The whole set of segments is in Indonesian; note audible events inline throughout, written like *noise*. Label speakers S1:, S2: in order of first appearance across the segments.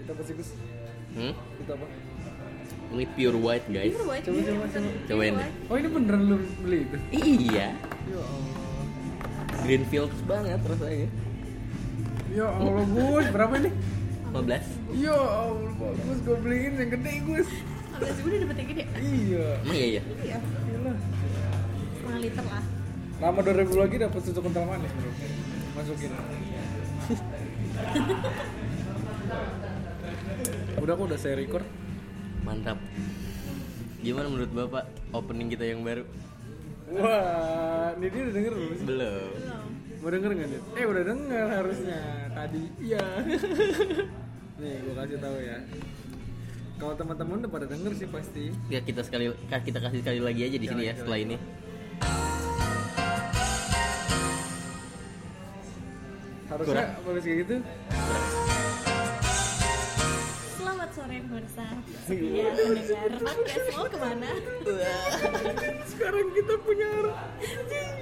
S1: Kita apa sih Gus?
S2: Hmm?
S1: Kita apa?
S2: Ini pure white guys.
S3: Pure white,
S1: Coba,
S3: iya,
S1: coba,
S3: bener.
S1: coba.
S3: Pure
S2: Cobain
S3: white.
S1: Oh ini beneran lu beli itu?
S2: Iya.
S1: Ya Allah.
S2: Greenfield banget rasanya.
S1: Ya Allah Gus, berapa ini?
S2: 15.
S1: Ya Allah Gus, gue beliin yang gede Gus.
S3: Habis itu udah dapet yang gede.
S1: Iya.
S2: Emang iya ya.
S3: Iya,
S1: Gila.
S3: setengah liter lah.
S1: Nama 2000 lagi dapat susu kental manis bro. Masukin. udah aku udah saya record.
S2: Mantap. Gimana menurut Bapak opening kita yang baru?
S1: Wah, ini dia udah denger belum sih?
S2: Belum.
S3: Belum.
S1: Mau denger nggak Dit? Eh udah denger harusnya tadi. Iya. *laughs* Nih gue kasih tahu ya. Kalau teman-teman udah pada denger sih pasti.
S2: Ya kita sekali kita kasih sekali lagi aja di sini ya setelah ini.
S1: Harusnya habis kayak gitu.
S3: Selamat sore pemirsa. Iya, pendengar. Podcast mau kemana?
S1: Sekarang kita punya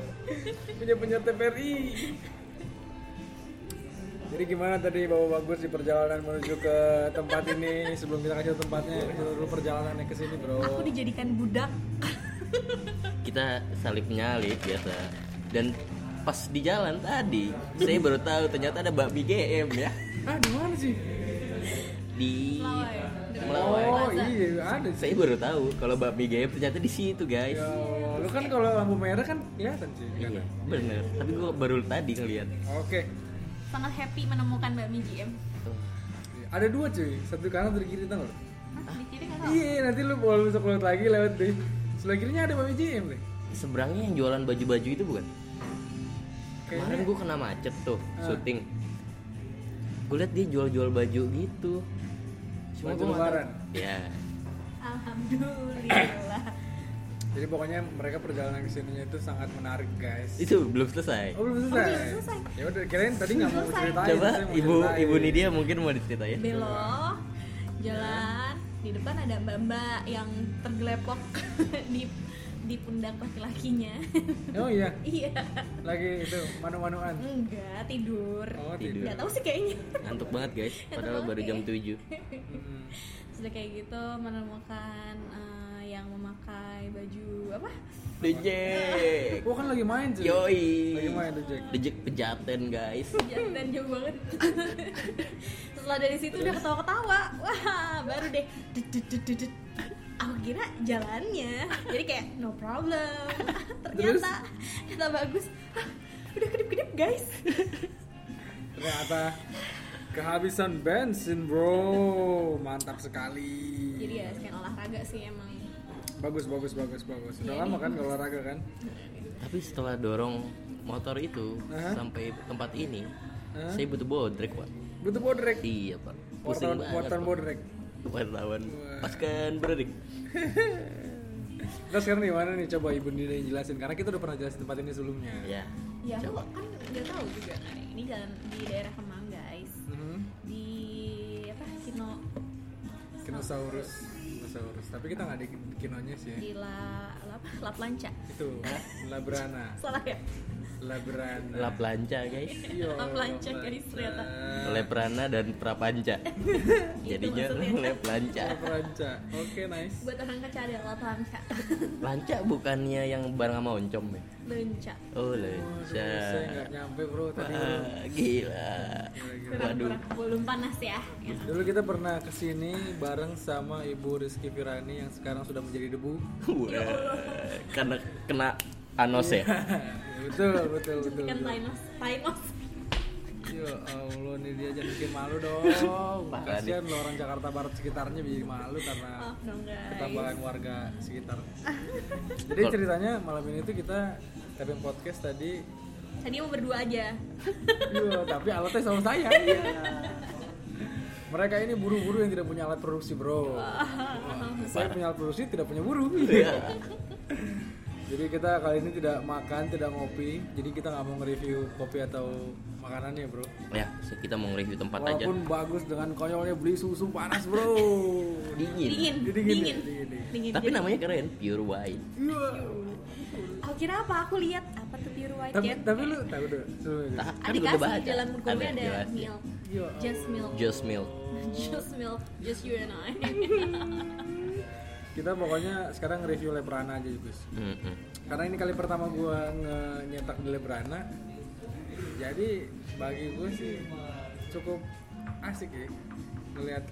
S1: *laughs* punya punya TPRI. Jadi gimana tadi bawa bagus di perjalanan menuju ke tempat ini sebelum kita kasih tahu tempatnya kasih tahu dulu perjalanannya ke sini bro.
S3: Aku dijadikan budak.
S2: Kita salip nyalip biasa. Dan pas di jalan tadi saya baru tahu ternyata ada babi GM ya
S1: Ah di mana sih?
S2: di
S3: Melawai.
S2: Melawai.
S1: Oh iya ada sih.
S2: Saya baru tahu kalau babi GM ternyata di situ guys.
S1: Ya, lu kan kalau lampu merah kan kelihatan sih. kan?
S2: Iya, bener. Tapi gua baru tadi ngeliat.
S1: Oke.
S3: Sangat happy menemukan Mbak Mi GM.
S1: Ada dua cuy, satu kanan satu kiri tau gak?
S3: Hah, di kiri kan?
S1: Iya, nanti lu kalau besok lewat lagi lewat deh. Sebelah kirinya ada Bapak JM deh.
S2: Seberangnya yang jualan baju-baju itu bukan? Kemarin
S1: Kayaknya
S2: gua kena macet tuh,
S1: Ah.
S2: syuting. Gue liat dia jual-jual baju gitu.
S1: Baju
S2: Cuma gua nggak tahu-
S1: lebaran.
S2: Ya,
S3: Alhamdulillah.
S1: Jadi pokoknya mereka perjalanan ke sininya itu sangat menarik, guys.
S2: itu belum selesai.
S1: Oh, belum selesai.
S3: Oh, belum selesai.
S1: Ya udah, kirain tadi nggak mau
S3: Belum selesai.
S1: ceritain.
S2: Coba
S1: saya mau
S2: ibu
S1: ceritain.
S2: ibu Nidia mungkin mau diceritain.
S3: Belok, jalan. Di depan ada mbak-mbak yang tergelepok *laughs* di di pundak laki-lakinya. *laughs*
S1: Oh iya,
S3: iya.
S1: lagi itu manu-manuan.
S3: Enggak, tidur.
S1: Oh,
S2: Tidur.
S1: tidur.
S3: Nggak tahu sih kayaknya.
S2: Ngantuk banget guys, padahal
S3: banget
S2: baru
S3: ya.
S2: jam 7
S1: Mm-mm.
S3: Sudah kayak gitu menemukan eh, yang memakai baju apa?
S2: DJ.
S1: Gua kan lagi main cuy.
S2: Yoi.
S1: Lagi main tuh Jack.
S2: DJ pejaten guys.
S3: Jantan jauh banget. *laughs* Setelah dari situ udah ketawa-ketawa. Wah, baru deh. Dut, dut, dut, dut, dut. Aku kira jalannya. Jadi kayak no problem. *laughs* Ternyata kata bagus. "Hah, Udah kedip-kedip guys.
S1: Ternyata kehabisan bensin, bro. Mantap sekali.
S3: Jadi ya sekian olahraga sih emang.
S1: Bagus, bagus, bagus, bagus. Udah
S3: Iya,
S1: lama kan kalau olahraga kan?
S2: Tapi setelah dorong motor itu
S1: Hah?
S2: sampai tempat ini,
S1: Hah?
S2: saya butuh bodrek pak.
S1: Butuh bodrek.
S2: Iya pak.
S1: Wartawan,
S2: Pusing banget.
S1: wartawan
S2: Pak.
S1: bodrek.
S2: Wartawan.
S1: Wah.
S2: Paskan bodrek.
S1: Terus sekarang di mana nih? Coba ibu Nida yang jelasin. Karena kita udah pernah jelasin tempat ini sebelumnya.
S2: Ya.
S3: Ya aku
S2: Coba.
S3: kan nggak tahu juga kan. Ini jalan di daerah Kemang guys.
S1: Mhm.
S3: Di apa? Kino
S1: Kinosaurus. Kinosaurus. Tapi kita nggak ada kinonya sih. Ya.
S2: Iya.
S3: di La, La, apa? Laplanca.
S1: Itu Labrana.
S3: Salah ya?
S1: Labrana.
S2: Lap lanca guys.
S1: Yo,
S3: Laplanca, guys, ternyata.
S1: Nah.
S2: Leprana dan
S1: *laughs*
S2: prapanca.
S1: Gitu
S2: Jadinya *laughs*
S3: maksudnya.
S2: lep lanca.
S1: Labranca. Oke, nice.
S3: Buat orang kaca ada Laplanca.
S2: Lanca bukannya yang barang sama oncom ya?
S3: Lenca.
S2: Oh
S1: Waduh,
S2: lanca.
S1: saya nggak nyampe bro tadi. bro.
S2: Wah, gila.
S1: Gila, gila.
S3: kurang
S2: Waduh.
S3: kurang belum panas ya Ya.
S1: Dulu kita pernah kesini bareng sama Ibu Rizky Virani yang sekarang sudah menjadi debu. *laughs*
S2: Wah, karena kena anos ya.
S1: betul, betul, betul.
S3: kan
S1: betul.
S3: Thanos Thanos
S1: Ya Allah, nih dia jangan bikin malu dong. Kasihan loh orang Jakarta Barat sekitarnya jadi malu karena
S3: maaf dong Oh, guys
S1: ketambahan warga sekitar. Jadi ceritanya malam ini tuh kita tapping podcast tadi.
S3: tadi mau berdua aja
S1: Iya, tapi alatnya sama saya. Iya. Mereka ini buru-buru yang tidak punya alat produksi, Bro. Saya punya alat produksi, tidak punya buru. *laughs* Jadi kita kali ini tidak makan, tidak ngopi. Jadi kita nggak mau nge-review kopi atau makanannya, Bro.
S2: Ya, kita mau nge-review tempat aja.
S1: Walaupun bagus dengan konyolnya beli susu panas bro.
S2: Dingin.
S3: dingin
S1: Dingin, ya?
S3: dingin dingin,
S1: dingin, dingin.
S2: Tapi namanya keren, pure white.
S1: Iya.
S3: aku kira apa aku lihat apa tuh pure white ya? Eh,
S1: tapi
S3: cat
S1: tapi lu tahu ya, deh sebelumnya.
S2: Ta-
S3: ada
S2: kan udah
S3: kasih
S2: baca.
S3: dalam bukunya ada,
S2: jelas, ya.
S3: milk
S1: Yo,
S3: just milk *laughs*
S2: Just milk.
S3: just milk just you and I
S1: kita pokoknya sekarang review Lebrana aja guys
S2: Mm-mm.
S1: karena ini kali pertama gua nge- nyetak di Lebrana jadi bagi gue sih cukup asik ya ngelihat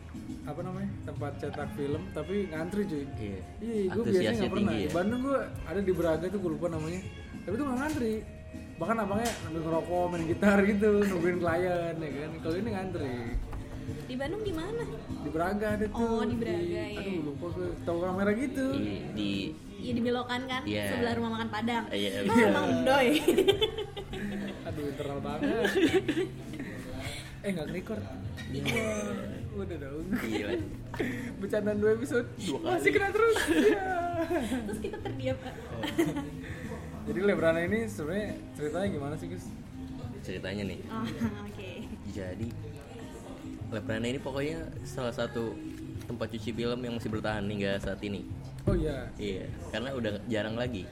S1: apa namanya tempat cetak film tapi ngantri cuy
S2: Iya.
S1: Iya, gue biasanya
S2: Antusiasnya
S1: nggak pernah.
S2: tinggi
S1: Di
S2: ya.
S1: Bandung gue ada di Braga itu gue lupa namanya. Tapi itu nggak ngantri. Bahkan abangnya ambil ngerokok, main gitar gitu, nungguin klien ya kan. Kalau ini ngantri.
S3: di Bandung di mana
S1: Di Braga ada tuh.
S3: Oh, di Braga, iya.
S1: Aduh, lupa gue tahu kamera gitu.
S2: I- Di
S3: ya di belokan kan
S2: Iya.
S3: sebelah rumah makan Padang
S2: Iya,
S3: Ah,
S2: betul.
S3: emang doi
S1: Aduh, internal banget. eh, nggak record.
S2: Iya.
S1: Udah dong.
S2: gila.
S1: Bercandaan dua episode.
S2: Dua kali.
S1: Masih kena terus. Iya.
S3: *laughs* terus kita terdiam
S1: Jadi Lebrana ini sebenarnya ceritanya gimana sih, Gus?
S2: Ceritanya nih.
S3: oh, oke
S2: Jadi Leprana ini pokoknya salah satu tempat cuci film yang masih bertahan hingga saat ini.
S1: Oh iya.
S2: Iya, karena udah jarang lagi.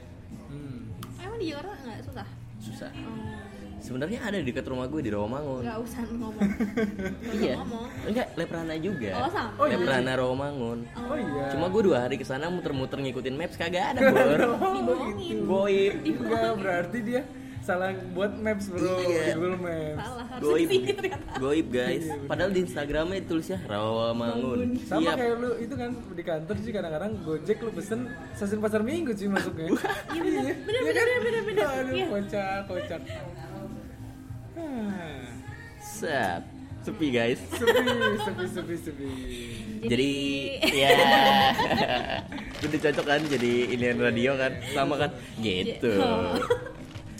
S1: Hmm.
S3: emang di Jakarta nggak susah
S2: Susah.
S3: oh,
S2: Sebenarnya ada di dekat rumah gue di Rawamangun.
S3: nggak usah ngomong Oh. Nggak usah
S2: Iya.
S3: Ya, ngomong
S2: Enggak, Leprana juga.
S3: Oh, sama.
S1: Oh, iya.
S2: Leprana Rawamangun.
S1: Oh iya.
S2: Cuma gue dua hari kesana muter-muter ngikutin maps kagak
S3: *laughs*
S2: ada bor.
S3: dibohongin
S2: Goib.
S1: Enggak, berarti dia salah buat maps bro,
S2: Iya.
S1: Google Maps.
S3: salah harus di
S2: Goib.
S3: sini ternyata
S2: Goib guys. Padahal di Instagramnya tulisnya Rawamangun.
S1: Iya, Sama
S3: Iya.
S2: Siap.
S1: kayak lu itu kan di kantor sih kadang-kadang Gojek lu pesen stasiun pasar Minggu sih masuknya.
S3: *laughs*
S1: Iya benar.
S3: bener, bener, bener, bener.
S1: Aduh,
S3: Iya.
S1: kocak, kocak. Ah,
S2: Sap. Sepi guys.
S1: Sepi, sepi, sepi, sepi.
S2: Jadi
S3: *laughs*
S2: ya *laughs* udah cocok kan jadi inian radio kan sama kan gitu.
S3: Oh.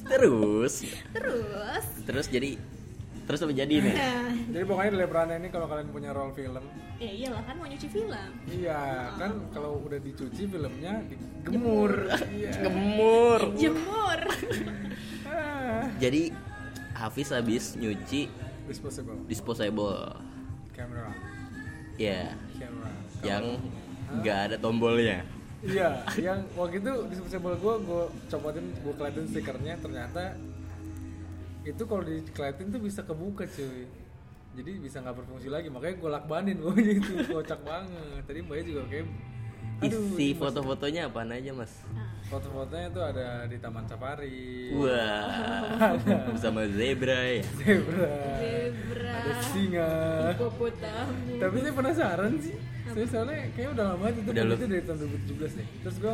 S2: Terus
S3: terus
S2: terus jadi terus apa jadi
S3: *laughs*
S2: nih?
S3: nah,
S1: Jadi pokoknya di Lebrana ini kalau kalian punya role film,
S3: ya iyalah kan mau nyuci film
S1: iya kan kalau udah dicuci filmnya digemur. Iya.
S2: Gemur.
S3: jemur
S1: Ah,
S2: Jadi Hafiz habis nyuci
S1: Disposable
S2: disposable.
S1: camera,
S2: Ya,
S1: camera.
S2: yang nggak ada tombolnya.
S1: Iya, yang waktu itu di disposable gue, gue copotin, gue keliatin stikernya, ternyata itu kalau dikeliatin tuh bisa kebuka cuy jadi bisa nggak berfungsi lagi makanya gue lakbanin *laughs* gue itu kocak banget tadi mbaknya juga kayak aduh
S2: Isi foto-fotonya apaan aja, Mas?
S1: foto-fotonya tuh ada di taman safari
S2: Wah. *laughs* Bersama zebra ya.
S1: zebra
S3: zebra
S1: ada singa
S3: bobo tamu
S1: tapi saya penasaran sih saya soalnya kayaknya udah lama banget itu
S2: Udah
S1: film
S2: lu-
S1: itu dari tahun 2017 deh terus gue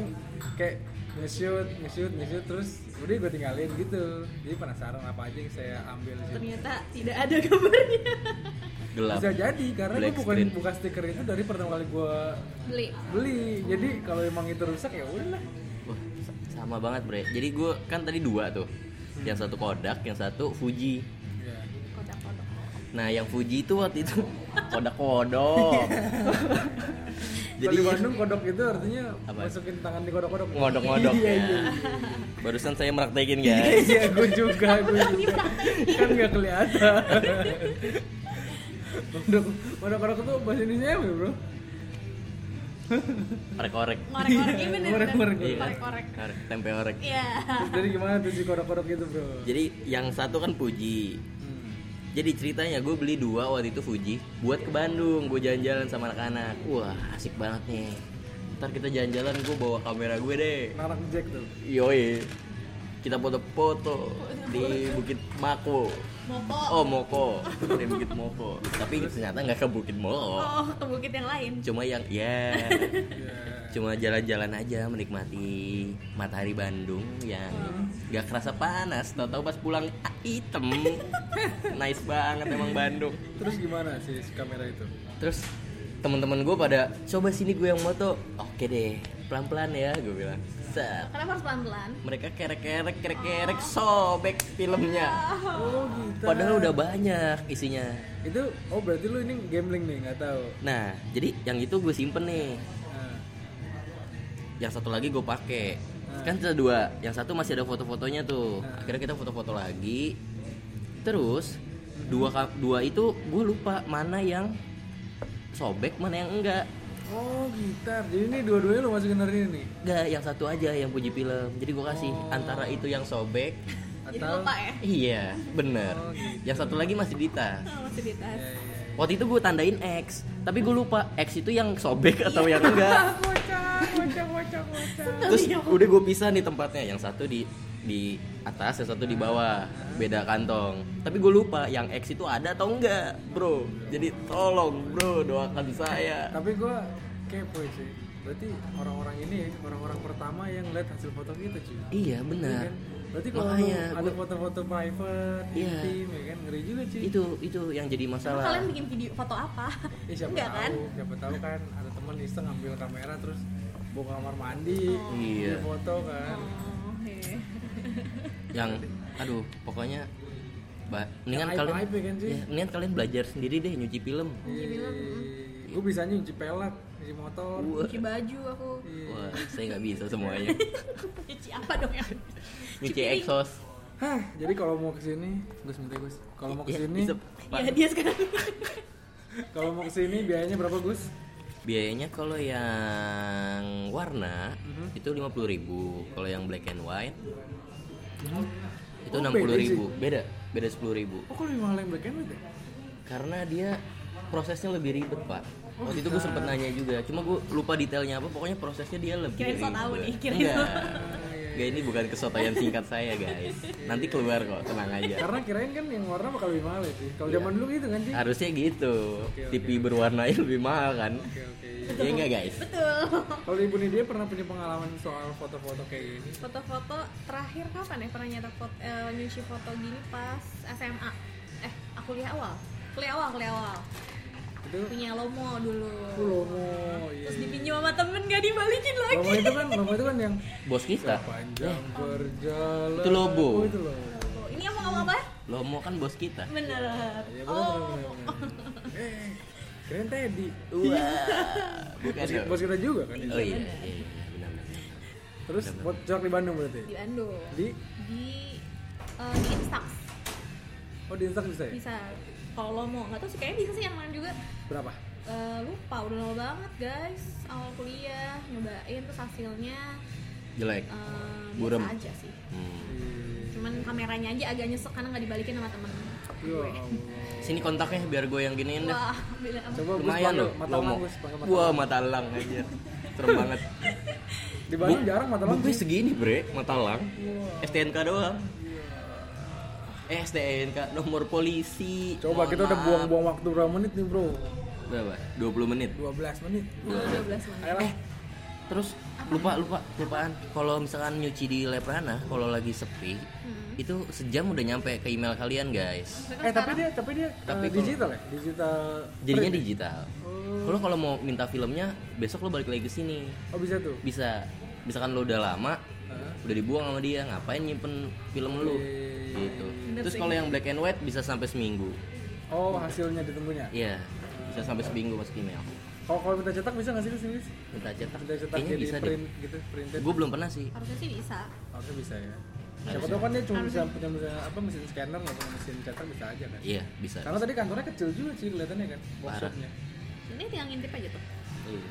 S1: kayak nge-shoot nge-shoot nge-shoot terus udah gue tinggalin gitu jadi penasaran apa aja yang saya ambil sih
S3: ternyata tidak ada kabarnya
S2: Gelap.
S1: bisa jadi karena gue
S2: Black
S1: bukan
S2: screen.
S1: buka stiker itu dari pertama kali gue
S3: beli
S1: beli jadi kalau emang itu rusak ya udah
S2: Wah, sa- sama banget, Bre. Jadi gue kan tadi dua tuh. Yang satu Kodak, yang satu Fuji.
S1: ya.
S3: kodak-kodak
S2: Nah, yang Fuji itu waktu itu *laughs* Kodak-kodok.
S1: Jadi di Bandung kodok itu artinya
S2: Apa?
S1: masukin tangan di kodok-kodok.
S2: ngodok-ngodok
S1: *laughs* Iya,
S2: ya.
S1: iya,
S2: Barusan saya meraktekin
S1: *laughs*
S2: guys.
S1: Iya, gue juga, gue juga. kan nggak kelihatan. kodok, kodok-kodok itu bahasa Indonesia apa ya, bro?
S2: Orek-orek.
S3: ngorek-ngorek ini bener
S1: Ngorek-ngorek.
S2: Iya.
S3: Orek-orek.
S2: Orek, Tempe orek.
S3: ya
S1: Terus Jadi gimana tuh si kodok-kodok itu, bro?
S2: Jadi yang satu kan Fuji.
S1: Hmm.
S2: Jadi ceritanya gue beli dua waktu itu Fuji buat ke Bandung, gue jalan-jalan sama anak-anak. Wah asik banget nih. Ntar kita jalan-jalan gue bawa kamera gue deh.
S1: Anak Jack tuh.
S2: Yoi. Kita foto-foto di Bukit Mako.
S3: mopo
S2: Oh Moko, di Bukit Moko. Tapi ternyata nggak ke Bukit Moko.
S3: oh ke bukit yang lain
S2: Cuma yang ya,
S1: Iya.
S2: cuma jalan-jalan aja menikmati matahari Bandung yang nggak kerasa panas. Tahu-tahu pas pulang ah, hitam. nice banget emang Bandung.
S1: Terus gimana sih si kamera itu?
S2: terus teman-teman gue pada coba sini gue yang moto oke deh pelan-pelan ya gue bilang Set.
S3: kenapa harus pelan-pelan
S2: mereka kerek-kerek kerek-kerek sobek filmnya
S1: Oh, gitu.
S2: padahal udah banyak isinya
S1: Itu oh berarti lu ini gambling nih, nggak tahu.
S2: nah jadi yang itu gue simpen nih
S1: Nah.
S2: yang satu lagi gue pakai kan ada dua yang satu masih ada foto-fotonya tuh akhirnya kita foto-foto lagi terus dua ka- dua itu gue lupa mana yang sobek mana yang enggak
S1: Oh gitar, jadi ini dua-duanya lo masukin hari ini nih?
S2: Gak, yang satu aja yang puji film. Jadi gue kasih antara itu yang sobek *laughs*
S3: jadi
S1: Atau-
S3: lupa ya
S2: Iya, bener.
S1: Oh, gitu.
S2: Yang satu lagi masih Dita.
S3: Oh, masih di tas
S1: Iya, iya.
S2: Waktu itu gue tandain X, tapi gue lupa X itu yang sobek atau yang enggak.
S1: Bocah, bocah, bocah, bocah.
S2: Terus udah gue pisah nih tempatnya, yang satu di di atas, yang satu di bawah, beda kantong. Tapi gue lupa yang X itu ada atau enggak, bro. Jadi tolong, bro, doakan saya.
S1: Tapi gue kepo sih. Berarti orang-orang ini ya, orang-orang pertama yang lihat hasil foto kita cuy.
S2: Iya,
S1: Iya
S2: benar.
S1: kan? Berarti kalau lu
S2: Makanya,
S1: ada
S2: gua-
S1: foto-foto private,
S2: Iya.
S1: intim, ya kan ngeri juga cuy.
S2: Itu itu yang jadi
S3: Emang
S2: masalah.
S3: kalian bikin video foto apa
S1: Ya, siapa
S3: enggak
S1: tahu,
S3: kan
S1: siapa tahu kan ada teman iseng ambil kamera terus bawa ke kamar mandi,
S2: Iya.
S1: dia foto kan.
S3: oh, iya.
S2: yang aduh pokoknya ba- mendingan
S1: Yang
S2: kalian
S1: aib-aib ya kan, Ci?
S2: ya, mendingan kalian belajar sendiri deh nyuci film
S3: Iya,
S1: Gue bisa nyuci pelet, nyuci motor.
S2: wah,
S3: cuci baju aku *laughs*
S1: Iya.
S2: wah, saya nggak bisa
S1: *laughs*
S2: semuanya
S3: cuci apa dong ya
S2: nyuci exhaust
S1: Hah, jadi kalau mau kesini, Gus minta Gus. Kalau mau
S2: Ya,
S1: kesini,
S2: bisa, Pak.
S3: ya dia sekarang
S1: kalau mau kesini biayanya berapa Gus?
S2: biayanya kalau yang warna
S1: Mhm.
S2: itu lima puluh ribu kalau yang black and white itu
S3: iya.
S1: Oh,
S2: enam
S1: beda
S2: puluh
S1: sih.
S2: ribu beda beda sepuluh ribu
S1: Oh, kalau yang lain black and white ya?
S2: karena dia prosesnya lebih ribet pak waktu itu gue
S3: Ah.
S2: sempet nanya juga cuma gue lupa detailnya apa pokoknya prosesnya dia lebih
S3: Kirain so
S2: ribet.
S3: tau nih, kirain
S2: Enggak.
S3: so.
S2: Enggak, ini bukan kesotoyan singkat saya guys nanti keluar kok tenang aja
S1: Karena kirain kan yang warna bakal lebih mahal ya sih. Kalau
S2: Iya.
S1: zaman dulu gitu kan sih.
S2: harusnya gitu
S1: Oke, oke,
S2: TV berwarna lebih mahal kan
S1: Oke oke. iya.
S2: ya enggak guys
S3: betul
S1: Kalau ibu Nidia pernah punya pengalaman soal foto-foto kayak gini?
S3: foto-foto terakhir kapan ya pernah nyata foto eh, nyuci foto gini pas SMA eh aku kuliah awal kuliah awal kuliah awal
S1: Itu
S3: punya lomo dulu
S1: aku lomo. Iya.
S3: terus dipinjam sama temen gak dibalikin lagi Iya.
S1: Lomo itu kan, lomo itu kan yang
S2: bos kita
S1: panjang berjalan.
S2: Itu lobo.
S1: Oh, itu lobo.
S3: Lomo. ini ngomong ngomong apa
S2: Lomo kan bos kita
S3: bener
S1: Ya, bener,
S3: oh
S1: bener, bener. Eh, keren Teddy.
S2: wah bukan
S1: Bos,
S2: dong.
S1: bos kita juga kan.
S2: Iya, oh iya iya iya, benar benar
S1: Terus buat jorok di Bandung berarti.
S3: di Bandung
S1: Di
S3: di eh, di Instax
S1: oh di Instagram bisa ya?
S3: bisa kalau lomo nggak tahu sih kayaknya bisa sih yang lain juga
S1: Berapa?
S3: Eh, lupa udah lama banget guys awal kuliah nyobain terus hasilnya
S2: jelek
S3: eh,
S2: Burem.
S3: biasa aja sih
S2: Hmm.
S3: cuman kameranya aja agak nyesek karena nggak dibalikin sama temen
S1: Ya Allah.
S2: sini kontaknya biar gue yang giniin deh
S3: wah bila
S1: Coba Gus
S2: lumayan
S1: pakai
S2: loh
S1: mata
S2: lomo
S1: lang, Gus, pakai mata
S2: wah
S1: lang.
S2: mata lang aja serem banget
S1: Di Bandung jarang mata lang.
S2: gue
S1: sih.
S2: segini bre mata lang STNK doang eh STNK nomor polisi
S1: Coba
S2: Mohon
S1: kita udah
S2: maaf.
S1: buang-buang waktu berapa menit nih, Bro?
S2: berapa 20 menit
S1: 12 menit.
S3: dua belas
S1: Ayolah.
S2: Eh, terus lupa lupa lupaan kalau misalkan nyuci di Leprana kalau lagi sepi itu sejam udah nyampe ke email kalian guys
S1: Eh, tapi dia tapi dia eh,
S2: Tapi kalau-
S1: digital ya? Digital.
S2: jadinya
S1: print.
S2: digital kalau kalau mau minta filmnya besok lo balik lagi ke sini
S1: Oh, bisa tuh. Eh,
S2: bisa misalkan lo udah lama
S1: Hah?
S2: udah dibuang sama dia ngapain nyimpen film
S1: Iya,
S2: lu
S1: Oke.
S2: gitu
S3: Bener
S2: terus
S3: sih.
S2: kalau yang black and white bisa sampai seminggu
S1: Oh, hasilnya ditunggunya.
S2: Iya, bisa sampai seminggu masuk email.
S1: Kalau kalau minta cetak bisa nggak sih kesini?
S2: Minta cetak,
S1: Minta cetak
S2: kayaknya
S1: jadi
S2: bisa deh.
S1: print gitu, printed.
S2: Gue belum pernah sih.
S3: harusnya sih bisa
S1: Harusnya bisa ya. Siapa tahu kan dia cuma bisa punya bisa apa mesin scanner nggak punya mesin cetak bisa aja kan.
S2: Iya, bisa.
S1: Karena tadi kantornya kecil juga sih kelihatannya kan, workshopnya.
S3: nanti tinggal ngintip aja tuh
S2: Iya.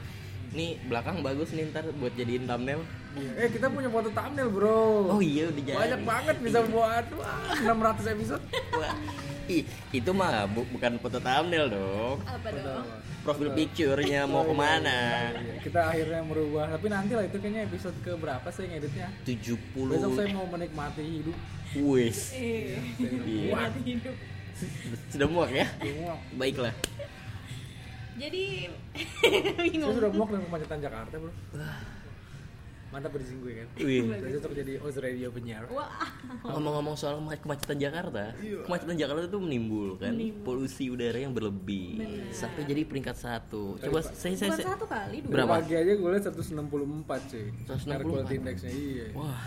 S2: Nih belakang bagus nih ntar buat jadiin thumbnail.
S1: Iya. Eh kita punya foto thumbnail bro.
S2: Oh iya udah jadi.
S1: Banyak banget bisa buat wah, 600 episode.
S2: Wah, *laughs* Ih, itu mah bu- bukan foto thumbnail dong.
S3: apa dong
S2: Profil picture-nya mau kemana?
S1: Iya, Kita akhirnya merubah, tapi nanti lah itu kayaknya episode ke berapa saya ngeditnya. Besok saya
S2: 70
S1: mau menikmati hidup.
S2: wis.
S3: eh
S2: Iya.
S3: berarti hidup
S2: Sudah muak ya?
S1: Bingung.
S2: Baiklah.
S3: jadi *laughs*
S1: Saya
S3: bingung
S1: sudah muak dengan kemacetan Jakarta bro. Mantap berisi gue kan.
S3: Iya.
S2: Wih.
S1: Saya cocok jadi host radio penyiar.
S3: wah
S2: Ngomong-ngomong soal kema- kemacetan Jakarta,
S1: Iya.
S2: kemacetan Jakarta itu menimbulkan polusi udara yang berlebih. Satu jadi peringkat satu. Coba saya saya,
S3: bukan
S2: saya-
S3: satu kali dua
S2: Berapa?
S1: Pagi aja gue liat 164 cuy.
S2: 164.
S1: Air quality indexnya iya.
S2: wah,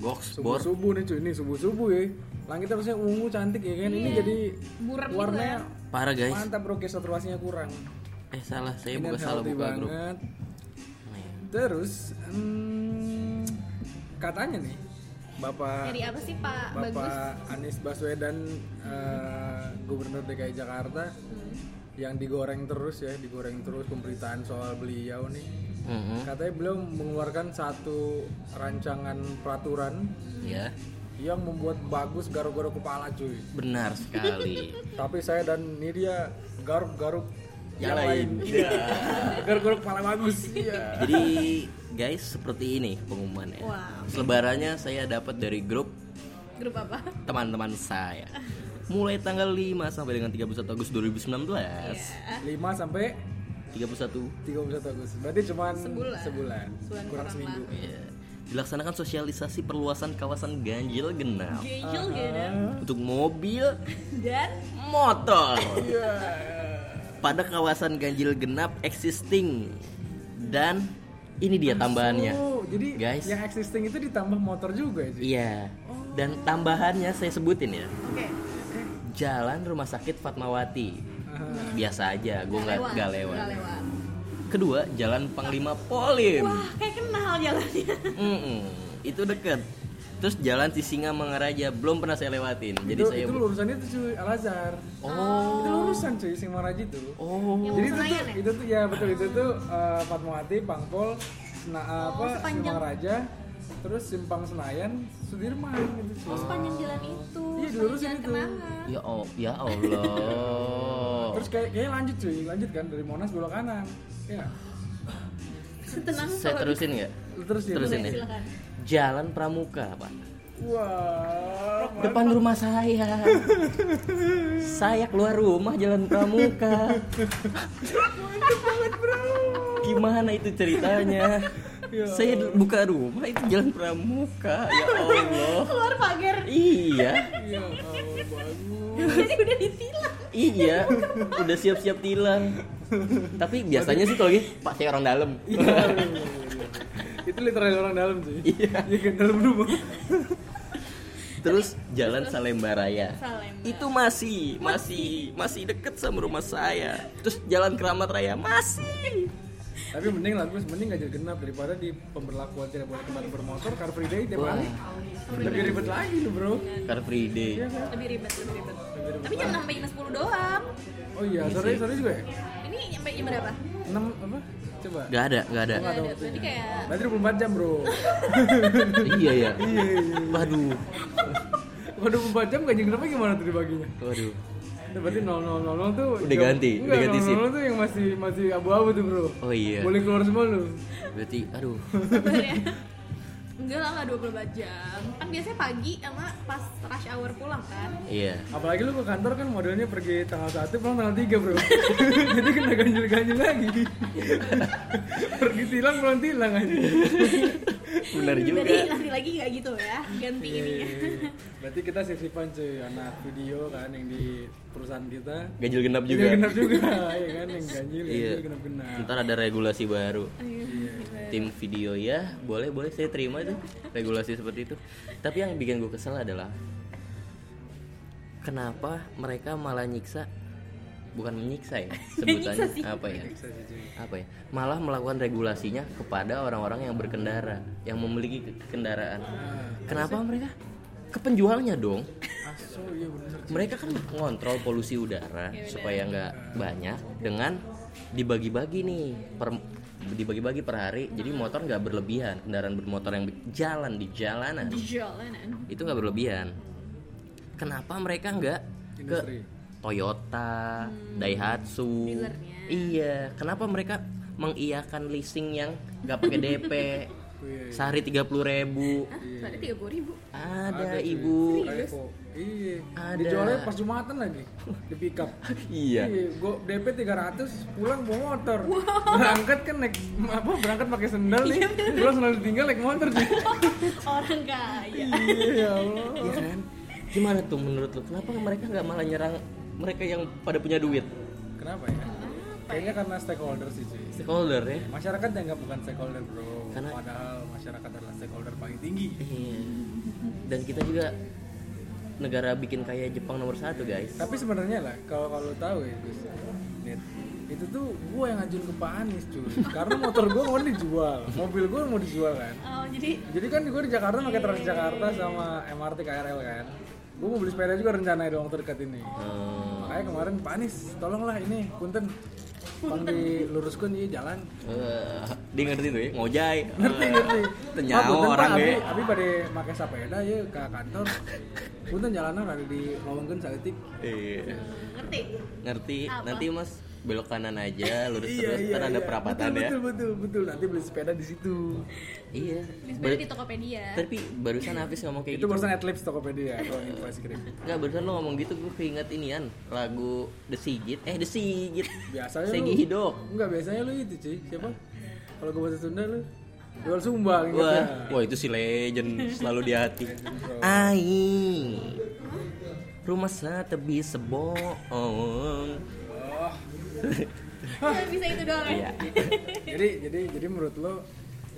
S2: goks
S1: Subuh
S2: bor.
S1: subuh nih cuy, ini subuh subuh ya. Langit harusnya ungu cantik ya kan. Ini jadi
S3: Iya. Buram gitu
S1: warnanya
S2: Parah guys.
S1: mantap bro, kayak saturasinya kurang.
S2: Eh salah, saya
S1: Ini
S2: buka salah
S1: healthy
S2: buka grup.
S1: banget.
S2: Nah, ya.
S1: Terus hmm, katanya nih Bapak
S3: dari apa sih Pak ah, Bagus
S1: Bapak Anies Baswedan eh, Gubernur DKI Jakarta yang digoreng terus ya, digoreng terus pemberitaan soal beliau nih.
S2: Mhm.
S1: Katanya beliau mengeluarkan satu rancangan peraturan
S2: Ya.
S1: yang membuat bagus garuk-garuk kepala cuy
S2: benar
S3: *laughs*
S2: sekali
S1: tapi saya dan Nidia garuk-garuk
S2: yang lain
S1: *laughs* garuk-garuk kepala bagus iya
S2: jadi guys seperti ini pengumumannya
S3: Wow.
S2: selebarannya saya dapat dari grup
S3: grup apa
S2: teman-teman
S3: *laughs*
S2: saya mulai tanggal 5 sampai dengan 31 Agustus 2019
S3: Iya.
S1: 5 sampai
S2: 31
S1: 31 Agustus berarti cuman
S3: Sebulan. Sebulan
S1: kurang
S3: kurang
S1: seminggu
S2: Iya. dilaksanakan sosialisasi perluasan kawasan ganjil genap
S3: ganjil genap
S2: untuk mobil
S3: dan
S2: motor
S1: iya
S2: pada kawasan ganjil genap existing dan ini dia tambahannya
S1: Oh, jadi
S2: Guys.
S1: yang existing itu ditambah motor juga sih
S2: iya dan tambahannya saya sebutin ya
S3: oke
S2: jalan rumah sakit Fatmawati biasa aja gue nggak nggak lewat
S3: Nggak lewat.
S2: kedua jalan Panglima Polim
S3: wah kayak kenal jalannya
S2: Mm-mm. itu deket terus jalan Sisinga Mangaraja belum pernah saya lewatin jadi
S1: itu,
S2: saya
S1: itu lulusan itu cuy Al Azhar
S2: oh
S1: itu lulusan cuy sing Maraji tuh
S2: oh
S1: Jadi itu
S3: Yang mau
S1: tuh,
S3: Senayan ya?
S1: itu tuh ya betul itu tuh eh, Fatmawati, Pangpol, Sena, eh, apa
S3: Oh, sepanjang.
S1: Simpang Raja, terus Simpang Senayan, Sudirman gitu cuy.
S3: Oh, sepanjang jalan itu,
S1: Iya,
S3: sepanjang
S1: dilurusin
S3: jalan
S1: itu.
S3: kenangan.
S2: ya oh ya
S3: Oh.
S2: Allah
S1: Terus kayak kayaknya lanjut cuy, lanjut kan dari Monas belok kanan. Ya.
S3: Tenang,
S2: saya
S3: kalau-
S2: terusin nggak
S1: Lu Terus ya.
S2: Terusin
S1: lu-
S2: ya.
S3: Silakan.
S2: jalan Pramuka pak
S1: Wah.
S2: depan rumah saya saya keluar rumah jalan Pramuka gimana itu ceritanya
S1: Ya
S2: saya buka rumah itu jalan Pramuka ya Allah
S3: Keluar pagar.
S2: iya
S1: Iya, Allah, bagus.
S3: Jadi udah ditilang.
S2: iya udah siap-siap tilang tapi biasanya sih kalau gitu pak saya orang dalam
S1: Iya, iya, iya, iya. Itu literally orang dalam cuy.
S2: Iya.
S1: Iya kan dalam rumah.
S2: terus jalan Salemba Raya
S3: Salemba.
S2: itu masih masih masih deket sama rumah saya terus jalan keramat raya masih
S1: Tapi mending lah, terus mending ganjil genap daripada di pemberlakuan tidak boleh kembali bermotor Car Free Day tiap
S2: Wah.
S1: hari. Lebih ribet lagi lu, Bro.
S2: car free day
S1: Iya kan?
S3: Lebih ribet, lebih ribet. Tapi jangan sampai jam 10 doang.
S1: Oh iya, sore sore juga ya?
S3: Ini nyampe jam berapa?
S1: 6 apa? Coba.
S2: nggak ada nggak ada
S3: Nggak ada, berarti kayak
S1: Berarti 24 jam, Bro.
S2: iya ya waduh
S1: Waduh, 24 jam gaji kenapa gimana tuh dibaginya? Nah,
S2: waduh
S1: Berarti 0000 tuh
S2: Udah
S1: jam-
S2: ganti, udah
S1: enggak,
S2: ganti sip.
S1: 0000 tuh yang masih masih abu-abu tuh, Bro.
S2: oh iya
S1: Boleh keluar semua lu.
S2: berarti aduh
S3: sabar ya. Enggak lah, enggak 24 jam. Kan biasanya pagi sama pas rush hour pulang kan.
S2: iya
S1: Apalagi lu ke kantor kan modelnya pergi tanggal 1 pulang tanggal 3, Bro. *laughs* Jadi kena ganjil-ganjil lagi. *laughs* pergi tilang pulang tilang aja.
S2: *laughs* benar juga
S3: Jadi nanti lagi nggak gitu ya, ganti
S1: Iya,
S3: ini.
S1: iya, iya. Berarti kita sip-sipan cuy anak video kan yang di perusahaan kita.
S2: ganjil genap
S1: Juga
S2: juga
S1: genap juga, *laughs* ya kan yang ganjil
S2: Iya.
S1: ganjil genap-genap.
S2: ntar ada regulasi baru
S3: Ayo.
S2: tim video ya boleh boleh saya terima itu regulasi seperti itu tapi yang bikin gue kesel adalah kenapa mereka malah nyiksa bukan menyiksa ya
S3: *laughs*
S2: sebutannya
S3: Nyiksa sih.
S2: apa ya
S1: Bisa sih, cuy.
S2: apa ya malah melakukan regulasinya kepada orang-orang yang berkendara yang memiliki ke- kendaraan
S3: Ah,
S2: kenapa mereka ke penjualnya dong
S1: Aso iya bener.
S2: mereka kan ngontrol polusi udara supaya nggak banyak dengan dibagi-bagi nih per dibagi-bagi per hari jadi motor nggak berlebihan kendaraan bermotor yang jalan di jalanan
S3: Di jalanan.
S2: itu nggak berlebihan kenapa mereka nggak ke
S1: Industri.
S2: Toyota, Daihatsu,
S3: Dealernya.
S2: iya kenapa mereka mengiakan leasing yang nggak pakai DP
S1: Wih.
S2: sehari 30.000 ribu
S3: Hah, soalnya 30 ribu. *laughs*
S2: ada,
S1: cuy.
S2: ibu
S1: Ada kok. Iya.
S2: Ada.
S1: Dijualnya pas Jumatan lagi di pick up.
S2: *laughs* iya
S1: gua DP 300, pulang bawa motor. Berangkat kan naik apa? Berangkat pakai sendal nih. pulang sendal ditinggal naik motor cuy.
S3: Orang kaya.
S1: Oh, iya ya Allah.
S2: Iya kan? Gimana tuh menurut lu? Kenapa mereka nggak malah nyerang mereka yang pada punya duit?
S1: Kenapa ya? Kayaknya karena stakeholder sih cuy.
S2: Stakeholder ya?
S1: Masyarakat dianggap bukan stakeholder bro.
S2: Karena-
S1: Padahal masyarakat adalah stakeholder paling tinggi.
S2: Iya. Dan kita juga negara bikin kaya Jepang nomor satu guys.
S1: Tapi sebenarnya lah, kalau kalau lu tahu ya, Gus, Nit, itu tuh gue yang ngajuin ke Pak Anies cuy. Karena motor gue mau dijual, mobil gue mau dijual kan.
S3: Oh, jadi
S1: Jadi kan gue di Jakarta pakai Transjakarta sama MRT KRL kan. Gue mau beli sepeda juga rencananya dong waktu dekat ini.
S2: Eh,
S1: Makanya kemarin Pak Anies, tolonglah ini, punten Pang diluruskan iya jalan.
S2: Eh, dia ngerti tuh ya, Eh, ngojay.
S1: Ngerti ngerti.
S2: Tenyawa
S1: Pak, punten, Pak,
S2: orang ya."
S1: abi,
S2: ge.
S1: abi pada pakai sepeda ya ke kantor. Punten jalanan ada di lowongan saletik.
S2: Iya.
S3: ngerti
S2: Ngerti.
S3: Apa?
S2: Nanti Mas belok kanan aja, lurus terus ntar ada
S1: Iya,
S2: perapatan
S1: betul,
S2: ya.
S1: Betul betul betul nanti beli sepeda di situ.
S2: Iya.
S3: Beli sepeda
S2: Bar-
S3: di Tokopedia
S2: Tapi barusan Hafiz ngomong kayak
S1: Itu
S2: gitu.
S1: barusan Adlibs Tokopedia kalau info es krim.
S2: Enggak, barusan lo ngomong gitu gue keinget inian lagu The Sigit. Eh, The Sigit.
S1: Biasanya lu-
S2: Segi Hidok.
S1: Enggak biasanya lu itu cuy siapa? Kalau gue bahasa Sunda lu jual sumbang ya?
S2: Wah,
S1: ingatnya.
S2: wah itu si legend selalu di hati. Aing. Rumah sa tebi seboong.
S1: Oh.
S3: *laughs* Cuma bisa itu doang
S2: Iya.
S3: ya *laughs*
S1: jadi jadi jadi menurut lo